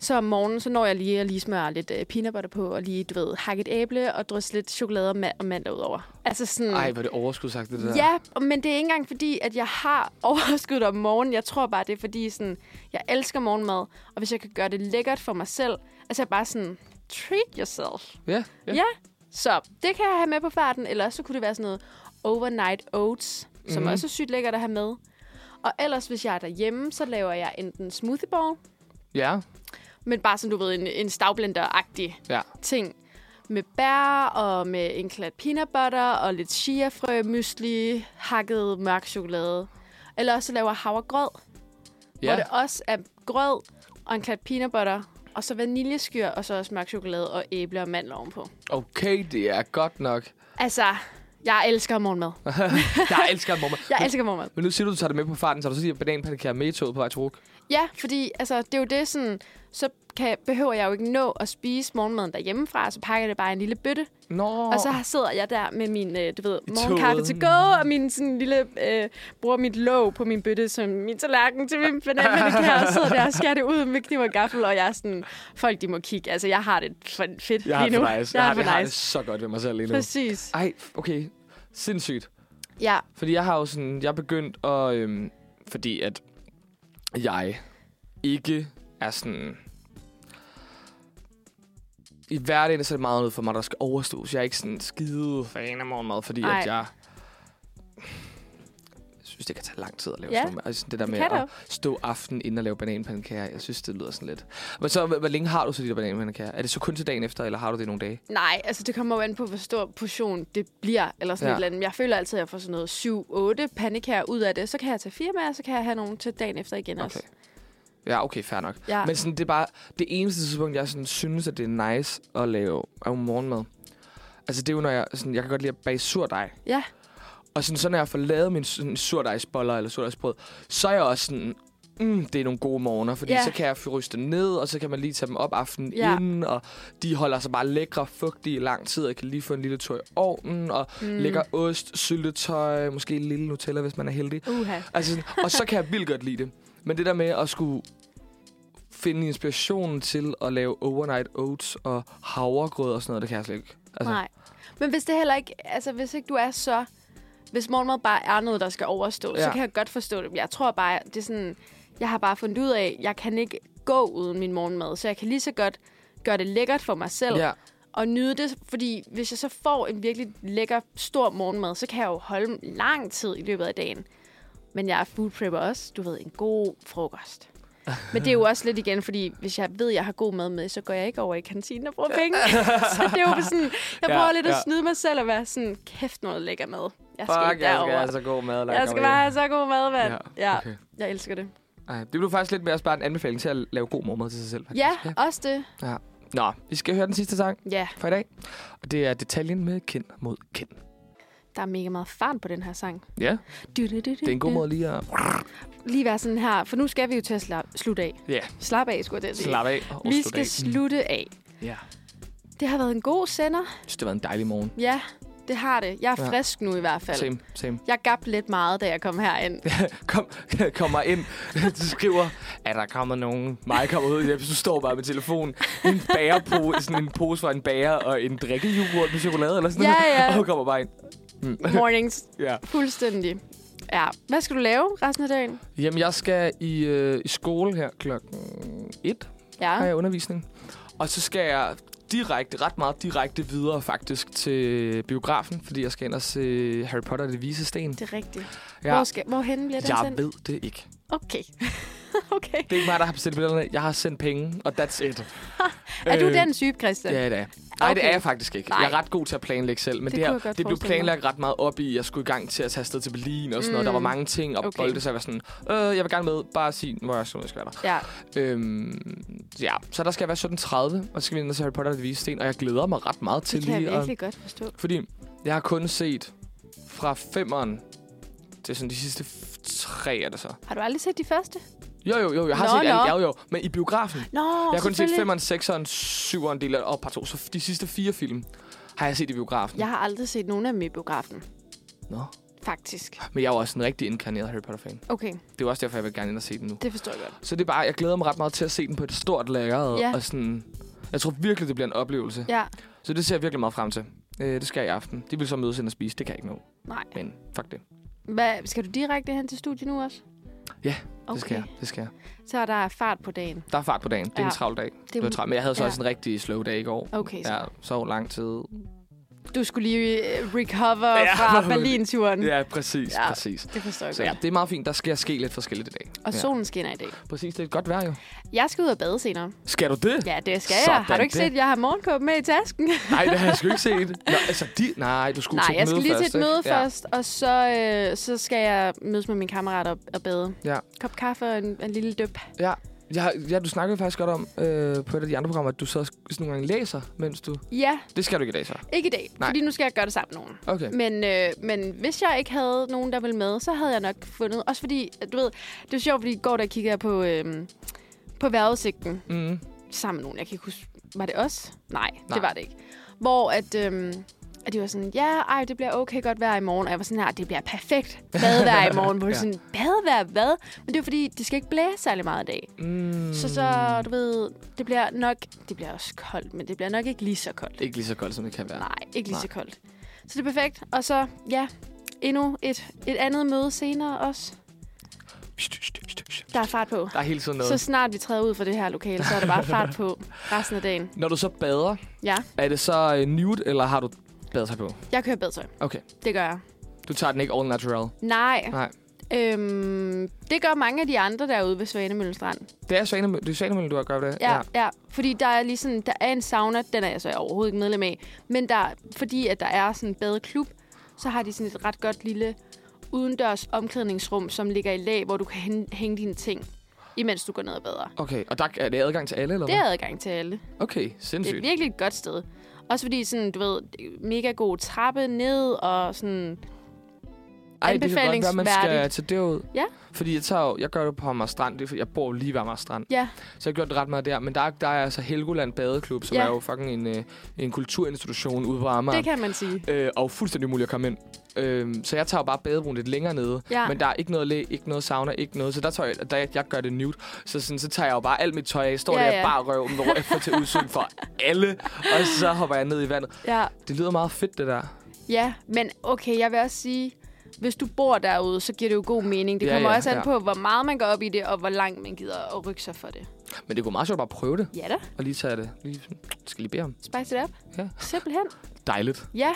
så om morgenen, så når jeg lige at lige smøre lidt øh, peanut butter på, og lige, du ved, hakke et æble og drysse lidt chokolade og, ma- og mandler ud over. Altså sådan...
Ej, hvor er det overskudsagt, det der.
Ja, og- men det er ikke engang fordi, at jeg har overskud om morgenen. Jeg tror bare, det er fordi, sådan, jeg elsker morgenmad, og hvis jeg kan gøre det lækkert for mig selv, altså jeg bare sådan, treat yourself.
Ja, ja.
Ja, så det kan jeg have med på farten, eller også så kunne det være sådan noget overnight oats, som
Mhm.
også er sygt lækkert at have med. Og ellers, hvis jeg er derhjemme, så laver jeg enten smoothie bowl,
ja.
men bare sådan, du ved, en, en stavblender-agtig
Ja.
ting. Med bær og med en klat peanut butter og lidt chiafrø, mysli, hakket mørk chokolade. Eller også så laver jeg havregrød, ja. hvor
ja.
det også er grød og en klat peanut butter, og så vaniljeskyr, og så også mørk chokolade og æble og mandler ovenpå.
Okay, det er godt nok.
Altså, jeg elsker morgenmad.
Jeg elsker mormor.
Jeg
men,
elsker morgenmad.
men nu siger du, du tager det med på farten, så du så siger bananpandekager med i toget på vej til Ruk.
Ja, fordi altså, det er jo det sådan, så kan, behøver jeg jo ikke nå at spise morgenmaden derhjemmefra, så pakker jeg det bare i en lille bøtte,
Nå.
Og så sidder jeg der med min, øh, du ved,
toget.
morgenkaffe til go, og min sådan lille, øh, bruger mit låg på min bøtte som min tallerken til min banan, det kan jeg også sidde der og skære det ud med kniv og gaffel, og jeg er sådan, folk de må kigge, altså jeg har det for fedt
jeg har
lige nu.
det nice. Jeg,
Jeg
har,
er
jeg
for
har det
nice.
så godt ved mig selv lige nu.
Præcis.
Ej, okay. Sindssygt.
Ja,
Fordi jeg har jo sådan, jeg er begyndt at, øhm, fordi at jeg ikke er sådan, i hverdagen så er det meget noget for mig, der skal overstås. Jeg er ikke sådan skide fan af morgenmad, fordi Ej.
Ej.
at jeg jeg synes, det kan tage lang tid at lave
Ja,
sådan noget. Altså, det der
det
med
kan det
at
jo.
stå aften inden og lave bananpandekager, jeg synes, det lyder sådan lidt. Men så, hvor hvor længe har du så de der bananpandekager? Er det så kun til dagen efter, eller har du det nogle dage?
nej, altså det kommer jo an på, hvor stor portion det bliver, eller sådan
Ja.
ja. et eller andet. Men Jeg føler altid, at jeg får sådan noget 7-8 pandekager ud af det, så kan jeg tage fire med, og så kan jeg have nogen til dagen efter igen okay. også.
Okay. Ja, okay, fair nok.
Ja.
Men sådan, det er bare det eneste tidspunkt, jeg sådan, synes, at det er nice at lave er jo morgenmad. Altså, det er jo, når jeg, sådan, jeg kan godt lide at bage surdej.
Ja.
Og sådan, så når jeg får lavet min sådan, surdejsboller eller surdejsbrød, så er jeg også sådan, mm, det er nogle gode morgener, fordi
Ja.
så kan jeg ryste dem ned, og så kan man lige tage dem op aftenen
Ja.
inden, og de holder sig bare lækre og fugtige i lang tid, og jeg kan lige få en lille tur i ovnen, og mm. lækker ost, syltetøj, måske en lille Nutella, hvis man er heldig.
Uha.
Altså, sådan- og så kan jeg vildt godt lide det. Men det der med at skulle finde inspirationen til at lave overnight oats og havregrød og sådan noget, det kan jeg slet ikke. Altså,
Nej. Men hvis det heller ikke, altså hvis ikke du er så, hvis morgenmad bare er noget, der skal overstås, ja.
Ja.
så kan jeg godt forstå det. Men Jeg tror bare, det er sådan, jeg har bare fundet ud af, jeg kan ikke gå uden min morgenmad, så jeg kan lige så godt gøre det lækkert for mig selv
Ja,
og nyde det, fordi hvis jeg så får en virkelig lækker, stor morgenmad, så kan jeg jo holde lang tid i løbet af dagen. Men jeg er food prepper også, du ved, en god frokost. Men det er jo også lidt igen, fordi hvis jeg ved, at jeg har god mad med, så går jeg ikke over i kantinen og bruger penge. så det er jo sådan, jeg
Ja,
prøver lidt at
ja.
snyde mig selv og være sådan, kæft noget lækker mad. Jeg skal
fuck,
ikke
jeg skal
derover.
have så god mad. der
Jeg skal
kommer
bare
hjem.
have så god mad, mand. Ja,
Ja,
okay.
okay.
jeg elsker det.
Ej, det blev faktisk lidt mere også bare en anbefaling til at lave god morgenmad til sig selv.
Ja,
faktisk.
også det.
ja. Nå, vi skal høre den sidste sang
Ja,
for i dag. Og det er detaljen med kendt mod kendt.
der er mega meget fart på den her sang.
Ja, det er en god måde lige at
lige være sådan her, for nu skal vi jo til at sla- slutte af.
ja,
Slap af, skulle jeg til at sige.
slappe af og
vi
slutte
skal
af.
slutte af.
Ja,
Det har været en god sender.
jeg synes, det har været en dejlig morgen.
Ja, det har det. Jeg er
Ja.
frisk nu i hvert fald.
Same, same.
Jeg gab lidt meget, da jeg kom herind.
Kom, kommer ind, du skriver, er der kommet nogen? Mig kommer ud, jeg du står bare med telefonen. En bagerpose, sådan en pose fra en bager og en drikkejogurt med chokolade eller sådan
Ja,
noget.
ja.
Og hun kommer bare ind. Mm.
Mornings.
ja.
Fuldstændig. Ja. Hvad skal du lave resten af dagen?
Jamen, jeg skal i, øh, i skole her klokken 1. har
Ja.
jeg undervisning. Og så skal jeg direkte, ret meget direkte videre faktisk til biografen, fordi jeg skal ind og se Harry Potter og det vise sten.
Det er rigtigt. Ja.
Ja,
Hvor skal, hvorhen bliver den
jeg
sendt?
ved det ikke.
Okay. okay.
Det er ikke mig, der har bestilt billederne. Jeg har sendt penge, og that's it.
Er du
Øh,
den type, Christian?
Ja, det er. Nej, okay. det er
Okay.
jeg faktisk ikke.
Nej.
Nej. Jeg er ret god til at planlægge selv, men
Det
det, det,
kunne jeg
her,
godt
det blev
forestille mig.
planlagt ret meget op i, jeg skulle i gang til at tage afsted til Berlin og sådan mm. noget.
Mm.
Der var mange ting og
Okay.
okay. bolde, så jeg var sådan, øh, jeg vil gerne med, bare sig, hvor jeg skal være der.
Ja.
Øhm, ja, så der skal jeg være 17.30, og så skal vi ind og se Harry Potter og det vise sten, og jeg glæder mig ret meget til
Det kan jeg
lige at
virkelig godt forstå.
Fordi jeg har kun set fra femmeren til sådan de sidste f- tre, er det så.
Har du aldrig set de første?
Jo, jo, jo, jeg har
Nå,
set alle, jo,
nå.
jo, men i biografen. Oh,
Nå,
jeg har kun set
selvfølgelig.
femmeren, sekseren, syveren, del af, og par to, så de sidste fire film har jeg set i biografen.
Jeg har aldrig set nogen af dem i biografen,
Nå.
faktisk.
Men jeg er jo også en rigtig inkarneret Harry Potter-fan.
Okay,
Det er jo også derfor, jeg vil gerne ind og se den nu.
det forstår jeg godt.
Så det er bare, jeg glæder mig ret meget til at se den på et stort lager,
Ja.
ja. og sådan... Jeg tror virkelig, det bliver en oplevelse.
Ja,
Så det ser jeg virkelig meget frem til. Øh, det skal jeg i aften. De vil så mødes ind og spise. Det kan jeg ikke nå.
nej.
Men fuck det.
Hvad, skal du direkte hen til studiet nu også?
Ja,
okay.
Det skal jeg. Det skal jeg.
Så er der fart på dagen.
Der er fart på dagen. Det er
Ja.
ja. en travl dag.
Det
Det var travlt, men jeg havde så
ja.
ja. også en rigtig slow dag i går.
Okay, så Mm.
Jeg sov lang tid.
du skulle lige øh, recover ja,
Ja,
fra
forhåbentlig.
Berlin-turen. Ja.
præcis.
Ja.
præcis.
Det forstår jeg
Så ja,
godt.
det er meget fint. Der skal jeg ske lidt forskelligt i dag.
Og
ja.
solen skinner i dag.
Præcis, det er et godt vejr jo.
Jeg skal ud og bade senere.
Skal du det?
Ja, det skal jeg.
Sådan
Har du ikke
det.
set, at jeg har morgenkåb med i tasken?
Nej, det har jeg sgu ikke set. Nå, altså, de... Nej, du skulle
Nej,
til et
jeg skal
møde
lige til
først,
et møde
ikke?
først, og så, øh, så skal jeg mødes med min kammerat og, og bade.
Ja.
Kop kaffe og en, en lille døb.
Ja. Ja, ja, du snakkede faktisk godt om øh, på et af de andre programmer, at du så sådan nogle gange læser, mens du...
Ja,
Det skal du ikke i dag, så.
ikke i dag, Nej.
Nej.
fordi nu skal jeg gøre det sammen med nogen.
Okay.
Men, øh, men hvis jeg ikke havde nogen, der ville med, så havde jeg nok fundet... Også fordi, at du ved, det er sjovt, fordi i går der kiggede jeg på, øh, på vejrudsigten
Mm.
sammen med nogen. Jeg kan ikke huske, var det os? Nej, Nej.
Nej.
det var det ikke. Hvor at, øhm, at de var sådan, ja, ej, det bliver okay godt vejr i morgen. Og jeg var sådan her, det bliver perfekt badevejr i morgen. Hvor ja.
Ja.
sådan, badevejr hvad? Men det er jo fordi, det skal ikke blæse særlig meget i dag.
Mm.
Mm. Så så, du ved, det bliver nok, det bliver også koldt, men det bliver nok ikke lige så koldt.
Ikke lige så godt, som det kan være.
Nej, ikke lige
Nej.
så koldt. Så det er perfekt. Og så, ja, endnu et, et andet møde senere også. Der er fart på.
Der er hele tiden noget.
Så snart vi træder ud fra det her lokale, så er der bare fart på resten af dagen.
Når du så bader,
Ja,
er det så øh, nude, eller har du badet på?
jeg kører badetøj.
Okay.
Det gør jeg.
Du tager den ikke all natural.
Nej.
Nej.
Øhm, det gør mange af de andre derude ved Svanemølle Strand.
Det er Svanemølle, det er Svanemølle, du har gjort det.
Ja, ja. ja, fordi der er lige sådan, der er en sauna, den er jeg så overhovedet ikke medlem af, men der, fordi at der er sådan en badeklub, så har de sådan et ret godt lille udendørs omklædningsrum, som ligger i lag, hvor du kan hænge, hænge dine ting, imens du går ned og bader.
Okay, og der er det adgang til alle, eller
Det er adgang til alle.
hvad? Okay,
Det er
sindssygt.
virkelig et godt sted. Også fordi sådan, du ved, mega god trappe ned og sådan...
Ej, det kan godt være, man skal
anbefalingsværdigt.
til derud.
Ja.
Fordi jeg, tager jo, jeg gør det på Amager Strand. Det er, fordi jeg bor jo lige ved Amager Strand.
Ja.
Så jeg gjorde det ret meget der. Men der, er- der er altså Helgoland Badeklub, som
Ja.
er jo fucking en, øh, en kulturinstitution ude på Amager.
Det kan man sige.
Øh, og fuldstændig umuligt at komme ind. Øh, så jeg tager jo bare badebroen lidt længere nede.
Ja.
Men der er ikke noget læ, ikke noget sauna, ikke noget. Så der, tager jeg, der jeg, jeg gør det nude. Så, sådan, så tager jeg jo bare alt mit tøj af. Står
Ja,
ja, der
ja.
ja. bare røv, hvor jeg får til udsyn for alle. Og så hopper jeg ned i vandet.
Ja.
Det lyder meget fedt, det der.
Ja, men okay, jeg vil også sige, hvis du bor derude, så giver det jo god mening. Det
Ja,
kommer
ja,
også an
ja.
på, hvor meget man går op i det, og hvor langt man gider at rykke sig for det.
Men det kunne meget sjovt at bare prøve det.
Ja da,
Og lige tage det. Lige, sådan, skal lige bede om.
spice it up.
Ja.
Simpelthen.
Dejligt.
Ja,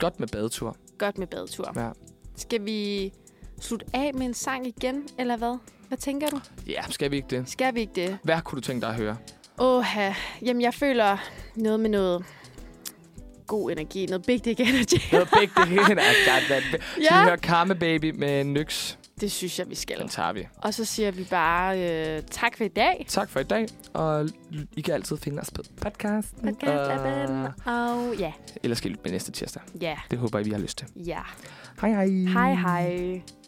Godt med badetur.
godt med badetur.
Ja.
Skal vi slutte af med en sang igen, eller hvad? Hvad tænker du?
Ja, skal vi ikke det?
Skal vi ikke det?
Hvad kunne du tænke dig at høre?
Åh, jamen jeg føler noget med noget god energi. Noget big dick energy.
Noget begge det hele. Ah, God, that... Skal
Ja.
vi høre Karma Baby med Nyx?
Det synes jeg, vi
Den
skal.
tager vi.
Og så siger vi bare øh, tak for i dag.
Tak for i dag, og I kan altid finde os på podcasten. Ah.
Podcast-appen. Og ja,
Eller skal I lytte med næste tirsdag.
ja,
Det håber jeg, vi har lyst til.
ja.
Hej hej.
Hej hej.